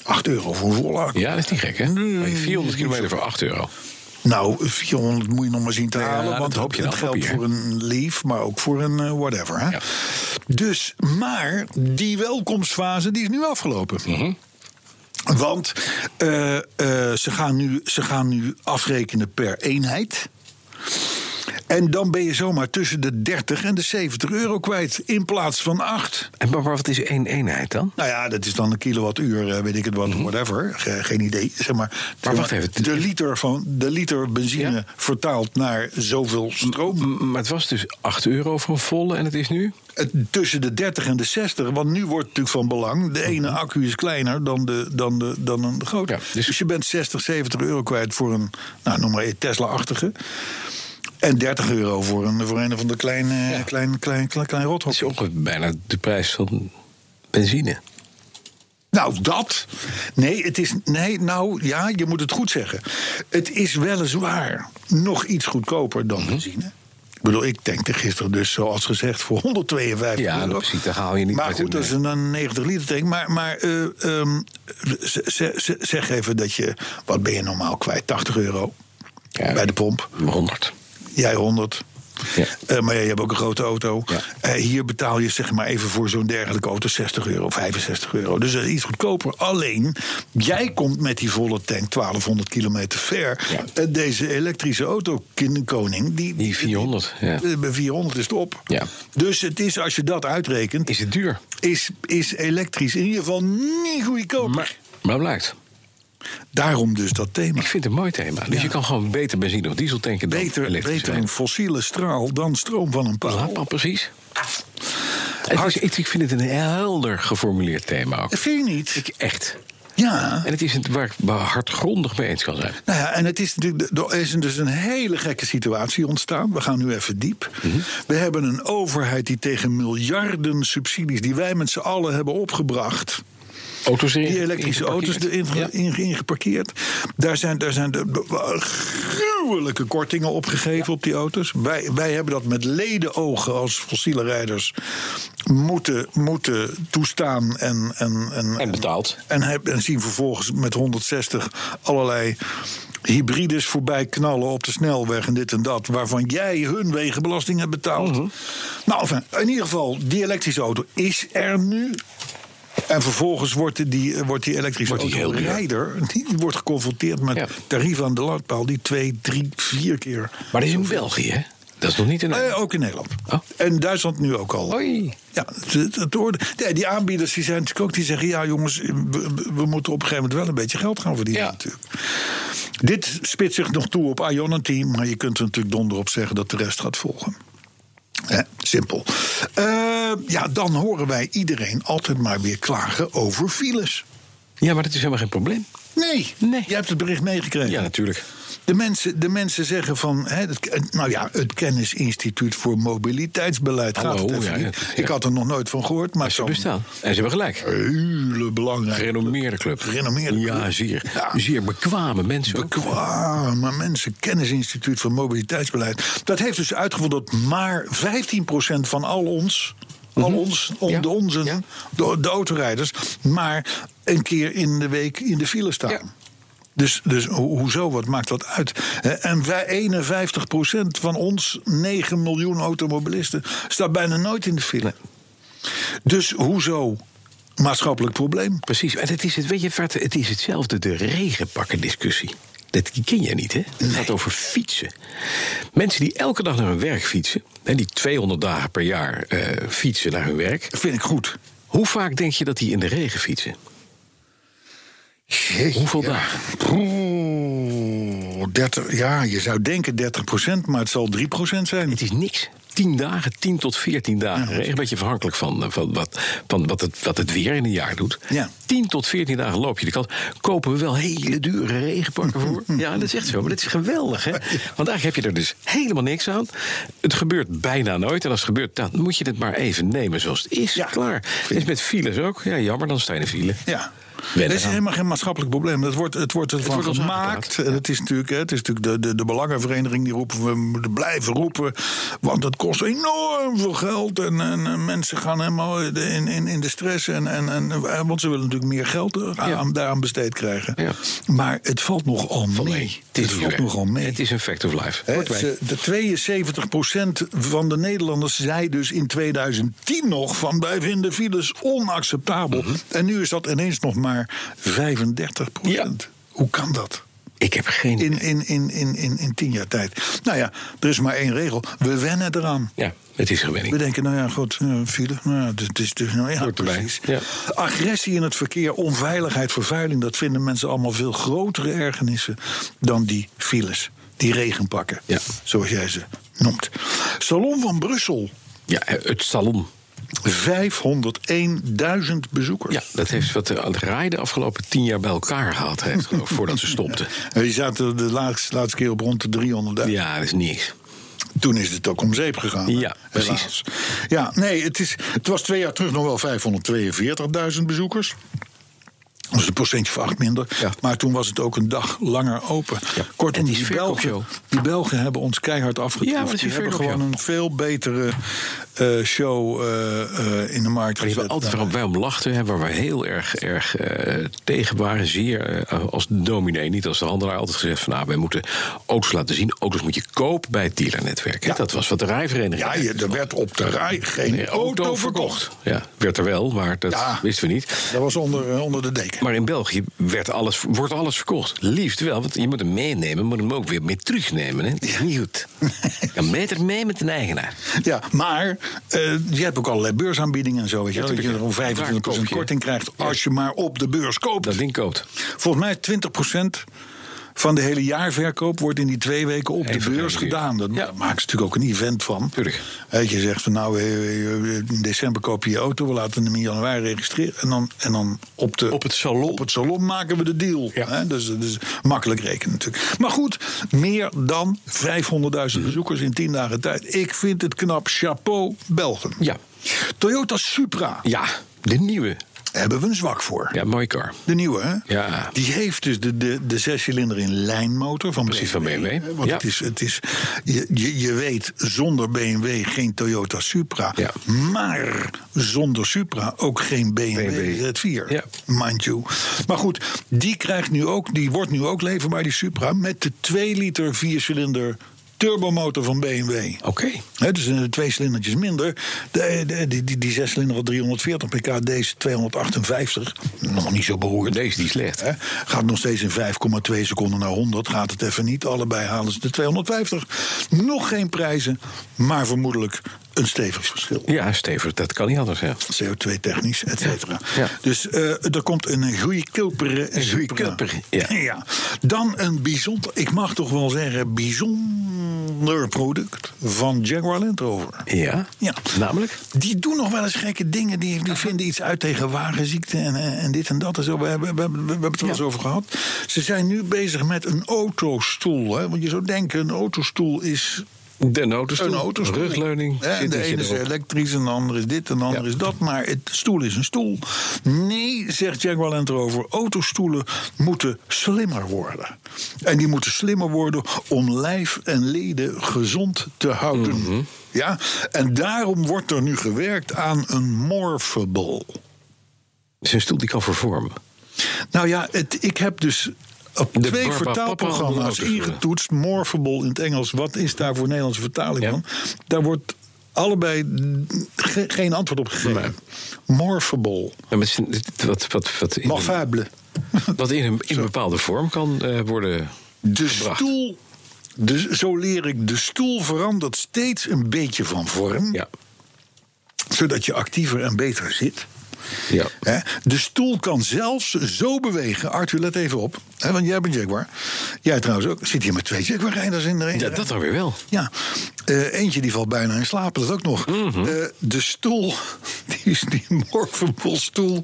[SPEAKER 3] 8 euro voor een volle accu.
[SPEAKER 2] Ja, dat is niet gek, hè? Maar 400 kilometer voor 8 euro.
[SPEAKER 3] Nou, 400 moet je nog maar zien te halen.
[SPEAKER 2] dat
[SPEAKER 3] want
[SPEAKER 2] heb
[SPEAKER 3] hoop
[SPEAKER 2] je
[SPEAKER 3] je dat
[SPEAKER 2] dan op
[SPEAKER 3] geldt
[SPEAKER 2] hier.
[SPEAKER 3] voor een leaf, maar ook voor een eh, whatever. Hè?
[SPEAKER 2] Ja.
[SPEAKER 3] Dus, maar die welkomstfase die is nu afgelopen.
[SPEAKER 2] Mhm.
[SPEAKER 3] Want eh, eh, ze, gaan nu, ze gaan nu afrekenen per eenheid. En dan ben je zomaar tussen de 30 en de 70 euro kwijt. In plaats van 8.
[SPEAKER 2] En maar wat is één eenheid dan?
[SPEAKER 3] Nou ja, dat is dan een kilowattuur, eh, weet ik het wat, whatever. Ge- geen idee. Zeg maar,
[SPEAKER 2] Mhm. Maar wacht even.
[SPEAKER 3] De liter, van, de liter benzine
[SPEAKER 2] Ja?
[SPEAKER 3] vertaald naar zoveel stroom.
[SPEAKER 2] M- Maar het was dus 8 euro voor een volle en het is nu?
[SPEAKER 3] Het- eh, Tussen de 30 en de 60. Want nu wordt het natuurlijk van belang. De ene accu is kleiner dan, de, dan, de, dan een grote.
[SPEAKER 2] Mhm. Ja, dus-
[SPEAKER 3] dus... je bent 60, 70 euro kwijt voor een, nou, noem maar een Tesla-achtige. En 30 euro voor een, voor een of ander klein, eh,
[SPEAKER 2] Ja.
[SPEAKER 3] klein, klein, klein, klein
[SPEAKER 2] Het
[SPEAKER 3] rothok.
[SPEAKER 2] is ongeveer bijna de prijs van benzine.
[SPEAKER 3] Nou, dat. Nee, het is. Nee, nou ja, je moet het goed zeggen. Het is weliswaar nog iets goedkoper
[SPEAKER 2] Mhm.
[SPEAKER 3] dan benzine. Ik bedoel, ik tankte gisteren dus, zoals gezegd, voor 152
[SPEAKER 2] Ja, nou,
[SPEAKER 3] euro.
[SPEAKER 2] precies, daar haal je niet
[SPEAKER 3] Maar
[SPEAKER 2] uit
[SPEAKER 3] goed,
[SPEAKER 2] een- eh,
[SPEAKER 3] dat is een, een 90 liter tank. Maar, maar eh, ehm, z- z- z- zeg even dat je... Wat ben je normaal kwijt? 80 euro
[SPEAKER 2] Ja.
[SPEAKER 3] bij de pomp.
[SPEAKER 2] 100.
[SPEAKER 3] Jij 100.
[SPEAKER 2] Ja.
[SPEAKER 3] Eh, maar ja, je hebt ook een grote auto.
[SPEAKER 2] Ja.
[SPEAKER 3] Eh, hier betaal je zeg maar even voor zo'n dergelijke auto 60 euro, 65 euro. Dus dat is iets goedkoper. Alleen, jij komt met die volle tank 1200 kilometer ver.
[SPEAKER 2] Ja.
[SPEAKER 3] En deze elektrische auto, kinderkoning... Die,
[SPEAKER 2] Die 400, ja.
[SPEAKER 3] eh, bij 400 is het op.
[SPEAKER 2] Ja.
[SPEAKER 3] Dus het is, als je dat uitrekent,
[SPEAKER 2] Is het duur?
[SPEAKER 3] is, is elektrisch in ieder geval niet goedkoper.
[SPEAKER 2] Maar blijkt.
[SPEAKER 3] Daarom dus dat thema.
[SPEAKER 2] Ik vind het een mooi thema. Dus je kan gewoon beter benzine of diesel tanken dan
[SPEAKER 3] Beter,
[SPEAKER 2] elektrisch
[SPEAKER 3] beter
[SPEAKER 2] rijden.
[SPEAKER 3] een fossiele straal dan stroom van een paal.
[SPEAKER 2] Laat maar precies. Het is,
[SPEAKER 3] Hard-
[SPEAKER 2] ik, ik vind het een helder geformuleerd thema ook.
[SPEAKER 3] Vind je niet?
[SPEAKER 2] Ik echt.
[SPEAKER 3] Ja.
[SPEAKER 2] En het is het waar ik me hardgrondig mee eens kan zijn.
[SPEAKER 3] Nou ja, en het is natuurlijk, er is dus een hele gekke situatie ontstaan. We gaan nu even diep.
[SPEAKER 2] Mhm.
[SPEAKER 3] We hebben een overheid die tegen miljarden subsidies... die wij met z'n allen hebben opgebracht...
[SPEAKER 2] Auto's erin.
[SPEAKER 3] die elektrische auto's
[SPEAKER 2] ingeparkeerd.
[SPEAKER 3] erin
[SPEAKER 2] Ja.
[SPEAKER 3] in- ingeparkeerd. Daar zijn, daar zijn de, de- de- gruwelijke kortingen opgegeven op die auto's. Wij, wij hebben dat met ledenogen als fossiele rijders moeten, moeten toestaan en, en, en,
[SPEAKER 2] En betaald.
[SPEAKER 3] En, heb, en zien vervolgens met 160 allerlei hybrides voorbij knallen op de snelweg en dit en dat. Waarvan jij hun wegenbelasting hebt betaald.
[SPEAKER 2] Mhm.
[SPEAKER 3] Nou, enfin, in ieder geval, die elektrische auto is er nu. En vervolgens wordt die, eh, wordt die elektrische
[SPEAKER 2] Wordt die heel duur.
[SPEAKER 3] autorijder... die wordt geconfronteerd met
[SPEAKER 2] Ja.
[SPEAKER 3] tarieven aan de latpaal... die twee, drie, vier keer...
[SPEAKER 2] Maar dat is in België, hè? Dat is nog niet in
[SPEAKER 3] Eh, ook in Nederland.
[SPEAKER 2] Oh.
[SPEAKER 3] En Duitsland nu ook al.
[SPEAKER 2] Hoi.
[SPEAKER 3] Ja, het, het orde- Nee, die aanbieders die zijn natuurlijk ook die zeggen: ja, jongens, we, we moeten op een gegeven moment wel een beetje geld gaan verdienen.
[SPEAKER 2] Ja.
[SPEAKER 3] Natuurlijk. Dit spit zich nog toe op Ionity, maar je kunt er natuurlijk donder op zeggen dat de rest gaat volgen. Hè, simpel. Eh, ja, dan horen wij iedereen altijd maar weer klagen over files.
[SPEAKER 2] Ja, maar dat is helemaal geen probleem.
[SPEAKER 3] Nee,
[SPEAKER 2] Nee.
[SPEAKER 3] je hebt het bericht meegekregen.
[SPEAKER 2] Ja, natuurlijk.
[SPEAKER 3] De mensen, de mensen zeggen van, hè, het, nou ja, het Kennisinstituut voor Mobiliteitsbeleid. gaat
[SPEAKER 2] Hallo,
[SPEAKER 3] het even
[SPEAKER 2] ja,
[SPEAKER 3] niet.
[SPEAKER 2] ja, ja.
[SPEAKER 3] Ik had er nog nooit van gehoord, maar
[SPEAKER 2] Maar ze
[SPEAKER 3] zo'n
[SPEAKER 2] bestaan. En ze hebben gelijk.
[SPEAKER 3] hele belangrijke,
[SPEAKER 2] Gerenommeerde club.
[SPEAKER 3] Gerenommeerde
[SPEAKER 2] Ja,
[SPEAKER 3] club.
[SPEAKER 2] zeer.
[SPEAKER 3] Ja.
[SPEAKER 2] Zeer bekwame mensen. ook.
[SPEAKER 3] bekwame mensen, Kennisinstituut voor Mobiliteitsbeleid. Dat heeft dus uitgevonden dat maar 15% van al ons, al ons, on-
[SPEAKER 2] Mhm. Ja.
[SPEAKER 3] de onzen,
[SPEAKER 2] Ja.
[SPEAKER 3] de, de autorijders, maar een keer in de week in de file staan.
[SPEAKER 2] Ja.
[SPEAKER 3] Dus, dus ho- hoezo, wat maakt dat uit? Hè, En wij, 51% van ons 9 miljoen automobilisten staat bijna nooit in de file. Dus hoezo maatschappelijk probleem?
[SPEAKER 2] Precies. En het is, het, weet je, Vart, het is hetzelfde, de regenpakken discussie. Dat die ken jij niet, hè? Het gaat over fietsen. Mensen die elke dag naar hun werk fietsen... en die 200 dagen per jaar eh, fietsen naar hun werk...
[SPEAKER 3] Dat vind ik goed.
[SPEAKER 2] hoe vaak denk je dat die in de regen fietsen? Hoeveel dagen?
[SPEAKER 3] Oeh, 30, ja, je zou denken 30 maar het zal 3 zijn.
[SPEAKER 2] Het is niks. tien dagen, tien tot veertien dagen regen. Een beetje afhankelijk van, eh, van, wat, van wat, het, wat het weer in een jaar doet.
[SPEAKER 3] Ja.
[SPEAKER 2] Tien tot veertien dagen loop je de kant. Kopen we wel hele dure regenpakken voor. Ja, dat is echt zo. Maar dat is geweldig, hè? Want eigenlijk heb je er dus helemaal niks aan. Het gebeurt bijna nooit. En als het gebeurt, dan moet je het maar even nemen zoals het is.
[SPEAKER 3] Ja.
[SPEAKER 2] Klaar. Het is met files ook. Ja, jammer, dan sta je in de file.
[SPEAKER 3] Ja.
[SPEAKER 2] Wennen
[SPEAKER 3] Het is
[SPEAKER 2] aan.
[SPEAKER 3] helemaal geen maatschappelijk probleem. Het wordt, het wordt ervan
[SPEAKER 2] wordt ons
[SPEAKER 3] gemaakt.
[SPEAKER 2] aangepraat.
[SPEAKER 3] En Het is natuurlijk, hè, het is natuurlijk de, de, de belangenvereniging die roepen... we moeten blijven roepen, want het kost enorm veel geld. En, en, en mensen gaan helemaal in, in, in de stress. En, en, en, eh, want ze willen natuurlijk meer geld eraan,
[SPEAKER 2] Ja.
[SPEAKER 3] daaraan besteed krijgen.
[SPEAKER 2] Ja.
[SPEAKER 3] Maar het valt nogal mee.
[SPEAKER 2] het
[SPEAKER 3] Het
[SPEAKER 2] is
[SPEAKER 3] valt
[SPEAKER 2] weer-
[SPEAKER 3] nogal mee.
[SPEAKER 2] Het is een fact of life.
[SPEAKER 3] Hè,
[SPEAKER 2] Wordt wij.
[SPEAKER 3] ze- de 72% van de Nederlanders zei dus in 2010 nog van wij vinden files onacceptabel. En nu is dat ineens nog maar 35%. Hoe kan dat?
[SPEAKER 2] Ik heb geen
[SPEAKER 3] In, in, in, in, in, in tien jaar tijd. Nou ja, er is maar één regel. We wennen eraan.
[SPEAKER 2] Ja, het is gewenning.
[SPEAKER 3] We denken, nou ja, goed, eh, file. Nou, ja, dit is dus, nou ja,
[SPEAKER 2] Hoort erbij.
[SPEAKER 3] precies.
[SPEAKER 2] Ja.
[SPEAKER 3] Agressie in het verkeer, onveiligheid, vervuiling... dat vinden mensen allemaal veel grotere ergernissen dan die files. Die regenpakken,
[SPEAKER 2] Ja.
[SPEAKER 3] zoals jij ze noemt. Salon van Brussel,
[SPEAKER 2] Ja, het salon.
[SPEAKER 3] 501.000 bezoekers.
[SPEAKER 2] Ja, dat heeft wat de het RAI de afgelopen tien jaar bij elkaar gehad heeft, geloof ik, voordat ze stopten.
[SPEAKER 3] Je Eh, zaten de laatste, laatste keer op rond de 300.000.
[SPEAKER 2] Ja, dat is niks.
[SPEAKER 3] Toen is het ook om zeep gegaan. hè?
[SPEAKER 2] Ja, precies.
[SPEAKER 3] Helaas. Ja, nee, het, is, het was twee jaar terug nog wel 542.000 bezoekers. Dat is een procentje van acht minder.
[SPEAKER 2] Ja.
[SPEAKER 3] Maar toen was het ook een dag langer open.
[SPEAKER 2] Ja,
[SPEAKER 3] Kortom,
[SPEAKER 2] het is
[SPEAKER 3] die Belgen,
[SPEAKER 2] verkoopshow.
[SPEAKER 3] die Belgen hebben ons keihard afgetroefd.
[SPEAKER 2] Ja, maar het is
[SPEAKER 3] die
[SPEAKER 2] een
[SPEAKER 3] hebben gewoon
[SPEAKER 2] verkoopshow.
[SPEAKER 3] een veel betere eh, show eh, eh, in de markt
[SPEAKER 2] Maar die hebben altijd waarop wij om lachten, hè, waar we heel erg, erg eh, tegen waren. Zeer eh, als dominee, niet als de handelaar, altijd gezegd van... nou, wij moeten auto's laten zien. Auto's moet je kopen bij het dealernetwerk. hè. Dat was wat de rijvereniging...
[SPEAKER 3] Ja, je, er werd op de rij geen
[SPEAKER 2] Eh,
[SPEAKER 3] auto verkocht.
[SPEAKER 2] Ja, werd er wel, maar dat
[SPEAKER 3] Ja.
[SPEAKER 2] wisten we niet.
[SPEAKER 3] Dat was onder, eh, onder de deken.
[SPEAKER 2] Maar in België werd alles, wordt alles verkocht. Liefst wel, want je moet hem meenemen, maar hem ook weer mee terugnemen. Hè? Dat is niet goed. Ja, meter mee met een eigenaar.
[SPEAKER 3] Ja, maar eh, je hebt ook allerlei beursaanbiedingen en zo. Weet je, wel, dat je
[SPEAKER 2] tuurlijk,
[SPEAKER 3] er om
[SPEAKER 2] ja. Waar
[SPEAKER 3] 25%
[SPEAKER 2] koop je?
[SPEAKER 3] korting krijgt als je maar op de beurs koopt.
[SPEAKER 2] Dat ding koopt.
[SPEAKER 3] Volgens mij 20% van de hele jaarverkoop wordt in die twee weken op
[SPEAKER 2] Even
[SPEAKER 3] de beurs
[SPEAKER 2] gerealiseerd.
[SPEAKER 3] gedaan. Dat
[SPEAKER 2] Ja.
[SPEAKER 3] maakt ze natuurlijk ook een event van.
[SPEAKER 2] Tuurlijk.
[SPEAKER 3] Weet je zegt van nou, eh, eh, in december koop je je auto, we laten hem in januari registreren. En dan, en dan op, de,
[SPEAKER 2] Op het salon.
[SPEAKER 3] op het salon maken we de deal.
[SPEAKER 2] Ja.
[SPEAKER 3] Hè? Dus, dus makkelijk rekenen natuurlijk. Maar goed, meer dan 500.000
[SPEAKER 2] Mm-hmm.
[SPEAKER 3] bezoekers in 10 dagen tijd. Ik vind het knap. Chapeau, Belgen.
[SPEAKER 2] Ja.
[SPEAKER 3] Toyota Supra
[SPEAKER 2] Ja, de nieuwe.
[SPEAKER 3] hebben we een zwak voor.
[SPEAKER 2] Ja, mooie car.
[SPEAKER 3] De nieuwe, hè?
[SPEAKER 2] Ja.
[SPEAKER 3] Die heeft dus de, de, de zescilinder in lijnmotor van
[SPEAKER 2] Precies, van BMW,
[SPEAKER 3] hè, Want
[SPEAKER 2] ja.
[SPEAKER 3] het is, het is, je, je, je weet, zonder BMW geen Toyota Supra.
[SPEAKER 2] Ja.
[SPEAKER 3] Maar zonder Supra ook geen BMW,
[SPEAKER 2] BMW.
[SPEAKER 3] Z4,
[SPEAKER 2] Ja.
[SPEAKER 3] mind you. Maar goed, die, krijgt nu ook, die wordt nu ook leverbaar, die Supra... met de 2 liter viercilinder turbomotor van BMW.
[SPEAKER 2] Oké.
[SPEAKER 3] Hè, dus eh, twee cilindertjes minder. De, de- die, die, die zes cilinder had 340 pk, deze 258. Nog niet zo beroerd.
[SPEAKER 2] Deze is niet slecht.
[SPEAKER 3] Hè? Gaat nog steeds in 5,2 seconden naar 100. Gaat het even niet. Allebei halen ze de 250. Nog geen prijzen, maar vermoedelijk een stevig verschil.
[SPEAKER 2] Ja, stevig, dat kan niet anders. Ja.
[SPEAKER 3] CO2-technisch, et cetera.
[SPEAKER 2] Ja.
[SPEAKER 3] Dus eh, er komt een goede kilper. Een
[SPEAKER 2] goeie kilper, ja.
[SPEAKER 3] Dan een bijzonder, ik mag toch wel zeggen, bijzonder product van Jaguar Land Rover.
[SPEAKER 2] ja.
[SPEAKER 3] Ja.
[SPEAKER 2] Namelijk?
[SPEAKER 3] Die doen nog wel eens gekke dingen. Die, die vinden iets uit tegen wagenziekte en, en en dit en dat. En zo. We, hebben, we, hebben- we hebben het er wel eens over gehad. Ze zijn nu bezig met een autostoel. Hè? Want je zou denken, een autostoel is
[SPEAKER 2] De autostoel.
[SPEAKER 3] een autostoel.
[SPEAKER 2] Rugleuning.
[SPEAKER 3] Hè, en de
[SPEAKER 2] zittingje
[SPEAKER 3] ene is
[SPEAKER 2] erop.
[SPEAKER 3] elektrisch en de andere is dit en de andere
[SPEAKER 2] Ja.
[SPEAKER 3] is dat. Maar het stoel is een stoel. Nee, zegt Jaguar Land Rover, autostoelen moeten slimmer worden. En die moeten slimmer worden om lijf en leden gezond te houden.
[SPEAKER 2] Mhm.
[SPEAKER 3] Ja? En daarom wordt er nu gewerkt aan een morphable.
[SPEAKER 2] Het is een stoel die kan vervormen.
[SPEAKER 3] Nou ja, het, ik heb dus op
[SPEAKER 2] De
[SPEAKER 3] twee
[SPEAKER 2] Barba Papa
[SPEAKER 3] vertaalprogramma's
[SPEAKER 2] auto's willen.
[SPEAKER 3] ingetoetst. Morphable in het Engels. Wat is daar voor Nederlandse vertaling
[SPEAKER 2] Ja.
[SPEAKER 3] van? Daar wordt allebei ge- geen antwoord op gegeven. Morphable.
[SPEAKER 2] Ja, maar het is een- het- wat, wat, wat, in, een,
[SPEAKER 3] Morphable.
[SPEAKER 2] wat in, een, in een bepaalde vorm kan eh, worden
[SPEAKER 3] De
[SPEAKER 2] gebracht.
[SPEAKER 3] stoel... De, zo leer ik, de stoel verandert steeds een beetje van vorm.
[SPEAKER 2] Ja.
[SPEAKER 3] Zodat je actiever en beter zit.
[SPEAKER 2] ja.
[SPEAKER 3] Hè? De stoel kan zelfs zo bewegen. Arthur, let even op. Hè, want jij bent Jaguar. Jij trouwens ook. Zit hier met twee Jaguar-rijders in de rij.
[SPEAKER 2] Ja, dat dan weer wel.
[SPEAKER 3] Ja, Eh, eentje die valt bijna in slaap, dat ook nog.
[SPEAKER 2] Mhm.
[SPEAKER 3] Eh, de stoel, die is die morfenbolstoel.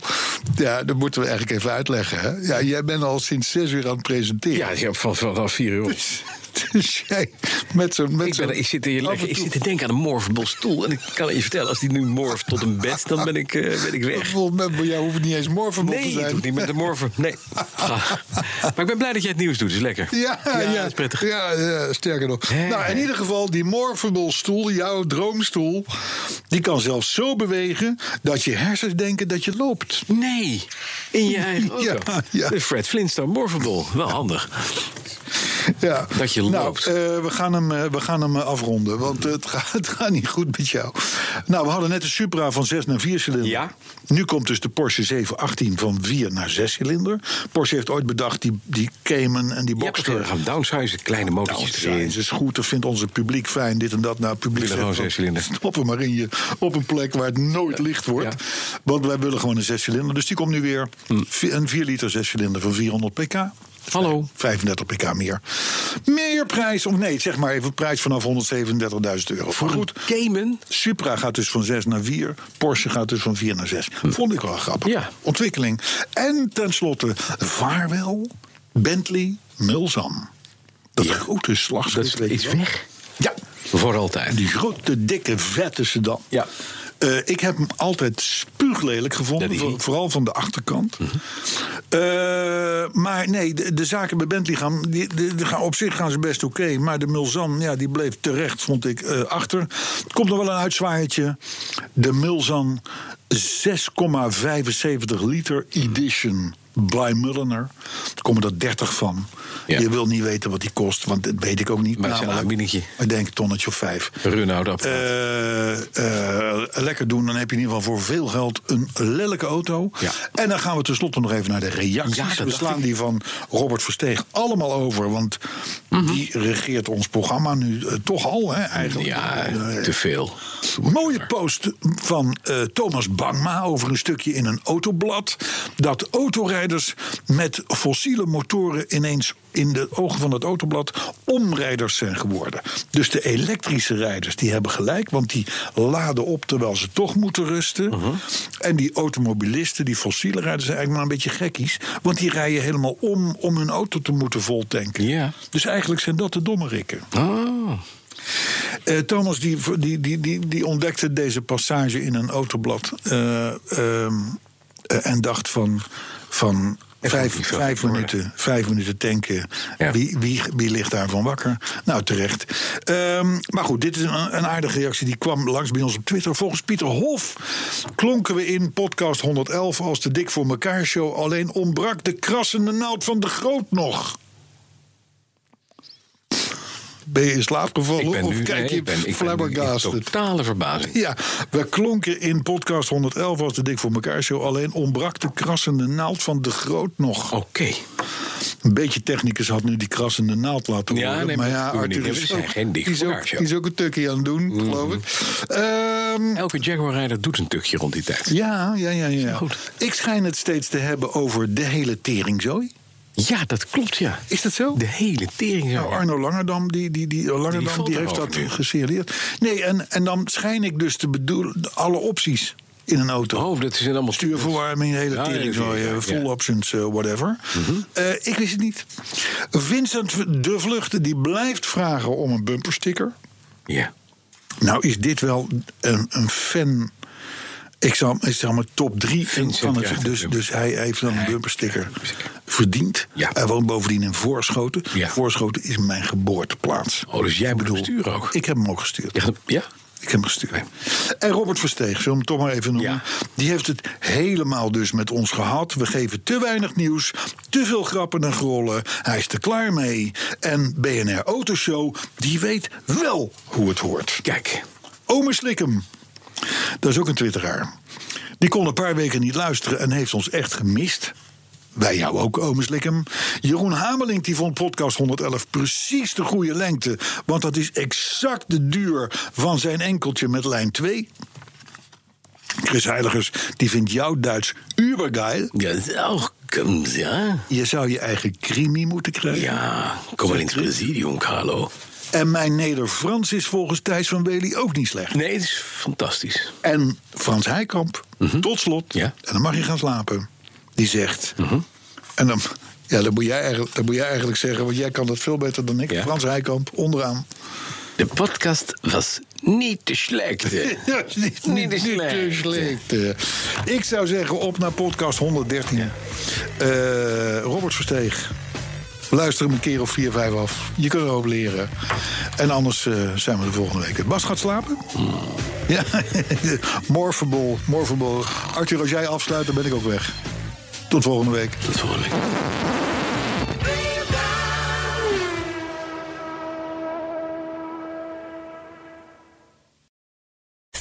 [SPEAKER 3] Ja, dat moeten we eigenlijk even uitleggen. Hè? Ja, jij bent al sinds zes uur aan het presenteren.
[SPEAKER 2] Ja, je hebt van, vanaf vier uur op.
[SPEAKER 3] Dus jij met zo'n... met
[SPEAKER 2] Ik, ben,
[SPEAKER 3] zo'n-
[SPEAKER 2] ik, zit hier
[SPEAKER 3] af
[SPEAKER 2] lekker,
[SPEAKER 3] en
[SPEAKER 2] ik
[SPEAKER 3] toe
[SPEAKER 2] zit te denken aan een morfable stoel. En ik kan je vertellen, als die nu morft tot een bed, dan ben ik, eh, ben ik weg.
[SPEAKER 3] Volgens mij, bij jou hoeft het niet eens morfenbol te
[SPEAKER 2] Nee,
[SPEAKER 3] zijn.
[SPEAKER 2] het hoeft niet met de morfen. Nee. Ga. Maar ik ben blij dat jij het nieuws doet. is lekker.
[SPEAKER 3] Ja, ja,
[SPEAKER 2] dat is prettig.
[SPEAKER 3] Ja, ja, sterker nog.
[SPEAKER 2] Hè.
[SPEAKER 3] Nou, in ieder geval, die morphable stoel, jouw droomstoel... die kan zelfs zo bewegen dat je hersens denken dat je loopt.
[SPEAKER 2] Nee, in je eigen auto.
[SPEAKER 3] Ja, ja.
[SPEAKER 2] De Fred Flintstone morfable. Wel handig.
[SPEAKER 3] Ja.
[SPEAKER 2] Dat je
[SPEAKER 3] nou,
[SPEAKER 2] loopt.
[SPEAKER 3] eh, we, gaan hem, eh, we gaan hem eh, afronden, want eh, het, gaat, het gaat niet goed met jou. Nou, we hadden net de Supra van 6 naar 4 cilinder.
[SPEAKER 2] Ja.
[SPEAKER 3] Nu komt dus de Porsche 718 van 4 naar 6 cilinder. Porsche heeft ooit bedacht die, die Cayman en die
[SPEAKER 2] Je hebt
[SPEAKER 3] Boxster.
[SPEAKER 2] het gaan downsizen, kleine motortjes
[SPEAKER 3] Nou,
[SPEAKER 2] erin.
[SPEAKER 3] het is goed, dat vindt onze publiek fijn, dit en dat. Nou, het publiek
[SPEAKER 2] willen gewoon
[SPEAKER 3] zegt van,
[SPEAKER 2] zescilinder.
[SPEAKER 3] Stop hem maar in je, op een plek waar het nooit licht wordt.
[SPEAKER 2] ja.
[SPEAKER 3] Want wij willen gewoon een zescilinder. Dus die komt nu weer. Vi- Een 4 liter zescilinder van 400 pk.
[SPEAKER 2] Hm. Hallo.
[SPEAKER 3] 35 pk meer. Meer prijs, of nee, zeg maar even prijs vanaf 137.000 euro. Maar goed,
[SPEAKER 2] Cayman.
[SPEAKER 3] Supra gaat dus van 6 naar 4. Porsche gaat dus van 4 naar 6. Vond ik wel grappig.
[SPEAKER 2] Hm. Ja.
[SPEAKER 3] Ontwikkeling. En tenslotte, vaarwel Bentley Mulzam. Dat grote slagschrift.
[SPEAKER 2] Dat is weg.
[SPEAKER 3] Ja.
[SPEAKER 2] Voor altijd.
[SPEAKER 3] Die grote, dikke, vette sedan.
[SPEAKER 2] Ja.
[SPEAKER 3] Eh, ik heb hem altijd spuuglelijk
[SPEAKER 2] Dat
[SPEAKER 3] gevonden.
[SPEAKER 2] is
[SPEAKER 3] voor-
[SPEAKER 2] niet.
[SPEAKER 3] vooral van de achterkant.
[SPEAKER 2] Mhm.
[SPEAKER 3] Eh, maar nee, de, de zaken bij Bentley gaan, die, die- die gaan op zich gaan ze best oké. maar de Mulzan, ja, die bleef terecht, vond ik, eh, achter. Het komt nog wel een uitzwaaiertje. De Mulzan 6,75 liter edition. Bly Mulliner. Er komen er 30 van.
[SPEAKER 2] Ja.
[SPEAKER 3] Je wil niet weten wat die kost, want dat weet ik ook niet.
[SPEAKER 2] Maar het is een
[SPEAKER 3] namelijk.
[SPEAKER 2] aanbiedingetje.
[SPEAKER 3] Ik denk een tonnetje of vijf.
[SPEAKER 2] Renault, dat
[SPEAKER 3] Eh, eh, lekker doen, dan heb je in ieder geval voor veel geld een lelijke auto.
[SPEAKER 2] Ja.
[SPEAKER 3] En dan gaan we tenslotte nog even naar de reacties.
[SPEAKER 2] Ja, dat
[SPEAKER 3] we
[SPEAKER 2] dacht
[SPEAKER 3] slaan
[SPEAKER 2] ik.
[SPEAKER 3] die van Robert Versteeg allemaal over, want
[SPEAKER 2] Mhm.
[SPEAKER 3] die regeert ons programma nu eh, toch al, hè, eigenlijk.
[SPEAKER 2] Ja,
[SPEAKER 3] Eh,
[SPEAKER 2] te veel. Oh.
[SPEAKER 3] Mooie post van eh, Thomas Bangma over een stukje in een autoblad. Dat autorijders met fossiele motoren ineens in de ogen van het autoblad omrijders zijn geworden. Dus de elektrische rijders die hebben gelijk, want die laden op terwijl ze toch moeten rusten. En die automobilisten, die fossiele rijders, zijn eigenlijk maar een beetje gekkies. Want die rijden helemaal om om hun auto te moeten voltanken.
[SPEAKER 2] Ja.
[SPEAKER 3] Dus eigenlijk zijn dat de domme rikken.
[SPEAKER 2] Oh.
[SPEAKER 3] Eh, Thomas die, die, die, die, die ontdekte deze passage in een autoblad. eh, ehm, eh, en dacht van. van Vijf,
[SPEAKER 2] niet veel
[SPEAKER 3] vijf,
[SPEAKER 2] worden.
[SPEAKER 3] minuten, vijf minuten tanken.
[SPEAKER 2] Ja.
[SPEAKER 3] Wie, wie, wie ligt daarvan wakker? Nou, terecht. Ehm, maar goed, dit is een, een aardige reactie. Die kwam langs bij ons op Twitter. Volgens Pieter Hof klonken we in podcast 111 als de Dik voor elkaar show. Alleen ontbrak de krassende naald van de groot nog. Ben je in slaap gevallen?
[SPEAKER 2] Ik ben
[SPEAKER 3] Oh, of
[SPEAKER 2] nu
[SPEAKER 3] kijk
[SPEAKER 2] nee,
[SPEAKER 3] je
[SPEAKER 2] ik ben, ik ben nu in
[SPEAKER 3] flabbergasted?
[SPEAKER 2] totale verbazing.
[SPEAKER 3] Ja, we klonken in podcast 111 als de Dik voor elkaar show. Alleen ontbrak de krassende naald van de groot nog.
[SPEAKER 2] Oké.
[SPEAKER 3] Een beetje technicus had nu die krassende naald laten
[SPEAKER 2] Ja,
[SPEAKER 3] horen.
[SPEAKER 2] nee, maar
[SPEAKER 3] maar
[SPEAKER 2] dat
[SPEAKER 3] ja,
[SPEAKER 2] doen we niet.
[SPEAKER 3] Arthur
[SPEAKER 2] Nee, we
[SPEAKER 3] is
[SPEAKER 2] zijn
[SPEAKER 3] ook,
[SPEAKER 2] geen Dik
[SPEAKER 3] die is
[SPEAKER 2] voor
[SPEAKER 3] ook-
[SPEAKER 2] elkaar show. Mhm.
[SPEAKER 3] die is ook een tukkie aan het doen, geloof ik. Ehm,
[SPEAKER 2] Elke Jaguar-rijder doet een tukje rond die tijd.
[SPEAKER 3] ja, ja, ja, ja.
[SPEAKER 2] Goed.
[SPEAKER 3] Ik schijn het steeds te hebben over de hele teringzooi.
[SPEAKER 2] Ja, dat klopt, ja.
[SPEAKER 3] Is dat zo?
[SPEAKER 2] De hele tering.
[SPEAKER 3] Nou, Arno Langerdam, die, die, die, Langerdam, die,
[SPEAKER 2] valt
[SPEAKER 3] heeft dat
[SPEAKER 2] erover nu.
[SPEAKER 3] gesignaleerd. Nee, en, en dan schijn ik dus te bedoelen alle opties in een auto.
[SPEAKER 2] Oh, dat zijn allemaal
[SPEAKER 3] Stuurverwarming, hele
[SPEAKER 2] Ja,
[SPEAKER 3] tering,
[SPEAKER 2] ja, ja, Mhm. ja.
[SPEAKER 3] full options, eh, whatever. Eh, ik wist het niet. Vincent de Vlucht, die blijft vragen om een bumpersticker.
[SPEAKER 2] Ja.
[SPEAKER 3] Nou is dit wel een, een fan... Ik zal, ik zal mijn top drie
[SPEAKER 2] Vincent
[SPEAKER 3] van
[SPEAKER 2] krijgt
[SPEAKER 3] het...
[SPEAKER 2] een
[SPEAKER 3] Dus, dus hij heeft dan een bumpersticker verdiend.
[SPEAKER 2] Ja.
[SPEAKER 3] Hij woont bovendien in Voorschoten.
[SPEAKER 2] Ja.
[SPEAKER 3] Voorschoten is mijn geboorteplaats.
[SPEAKER 2] Oh, dus jij bedoelt stuur ook.
[SPEAKER 3] Ik heb hem ook gestuurd.
[SPEAKER 2] Ja, ja.
[SPEAKER 3] Ik heb hem gestuurd. En Robert Versteeg, zullen we hem toch maar even noemen.
[SPEAKER 2] Ja.
[SPEAKER 3] Die heeft het helemaal dus met ons gehad. We geven te weinig nieuws, te veel grappen en grollen. Hij is er klaar mee. En BNR Autoshow, die weet wel hoe het hoort.
[SPEAKER 2] Kijk.
[SPEAKER 3] Ome Slikkem, dat is ook een twitteraar. Die kon een paar weken niet luisteren en heeft ons echt gemist. Bij jou ook, ome Slikkem. Jeroen Hamelink die vond podcast 111 precies de goede lengte. Want dat is exact de duur van zijn enkeltje met lijn 2. Chris Heiligers die vindt jouw Duits ubergeil.
[SPEAKER 2] Ja, oh, Kom, ja.
[SPEAKER 3] Je zou je eigen crimi moeten krijgen.
[SPEAKER 2] Ja, kom maar in het presidium, Carlo.
[SPEAKER 3] En mijn Neder-Frans is volgens Thijs van Wely ook niet slecht.
[SPEAKER 2] Nee, het is fantastisch.
[SPEAKER 3] En Frans Heikamp, tot slot,
[SPEAKER 2] Mhm. Ja. Mhm.
[SPEAKER 3] en dan mag je gaan slapen. Die zegt. En dan, ja, dan, moet jij, eigenlijk- dan moet jij eigenlijk zeggen, want jij kan dat veel beter dan ik.
[SPEAKER 2] Ja.
[SPEAKER 3] Frans Heikamp, onderaan.
[SPEAKER 2] De podcast was niet te slecht. hè.
[SPEAKER 3] Ja, niet,
[SPEAKER 2] Niet
[SPEAKER 3] niet,
[SPEAKER 2] de
[SPEAKER 3] niet te
[SPEAKER 2] slechte.
[SPEAKER 3] slechte. Ik zou zeggen, op naar podcast 113. Eh, Robert Versteeg. Luister hem een keer of vier, vijf af. Je kunt erop leren. En anders eh, zijn we de volgende week. Bas gaat slapen? Ja, morphable, morphable. Arthur, als jij afsluit, dan ben ik ook weg. Tot volgende week.
[SPEAKER 2] Tot volgende week.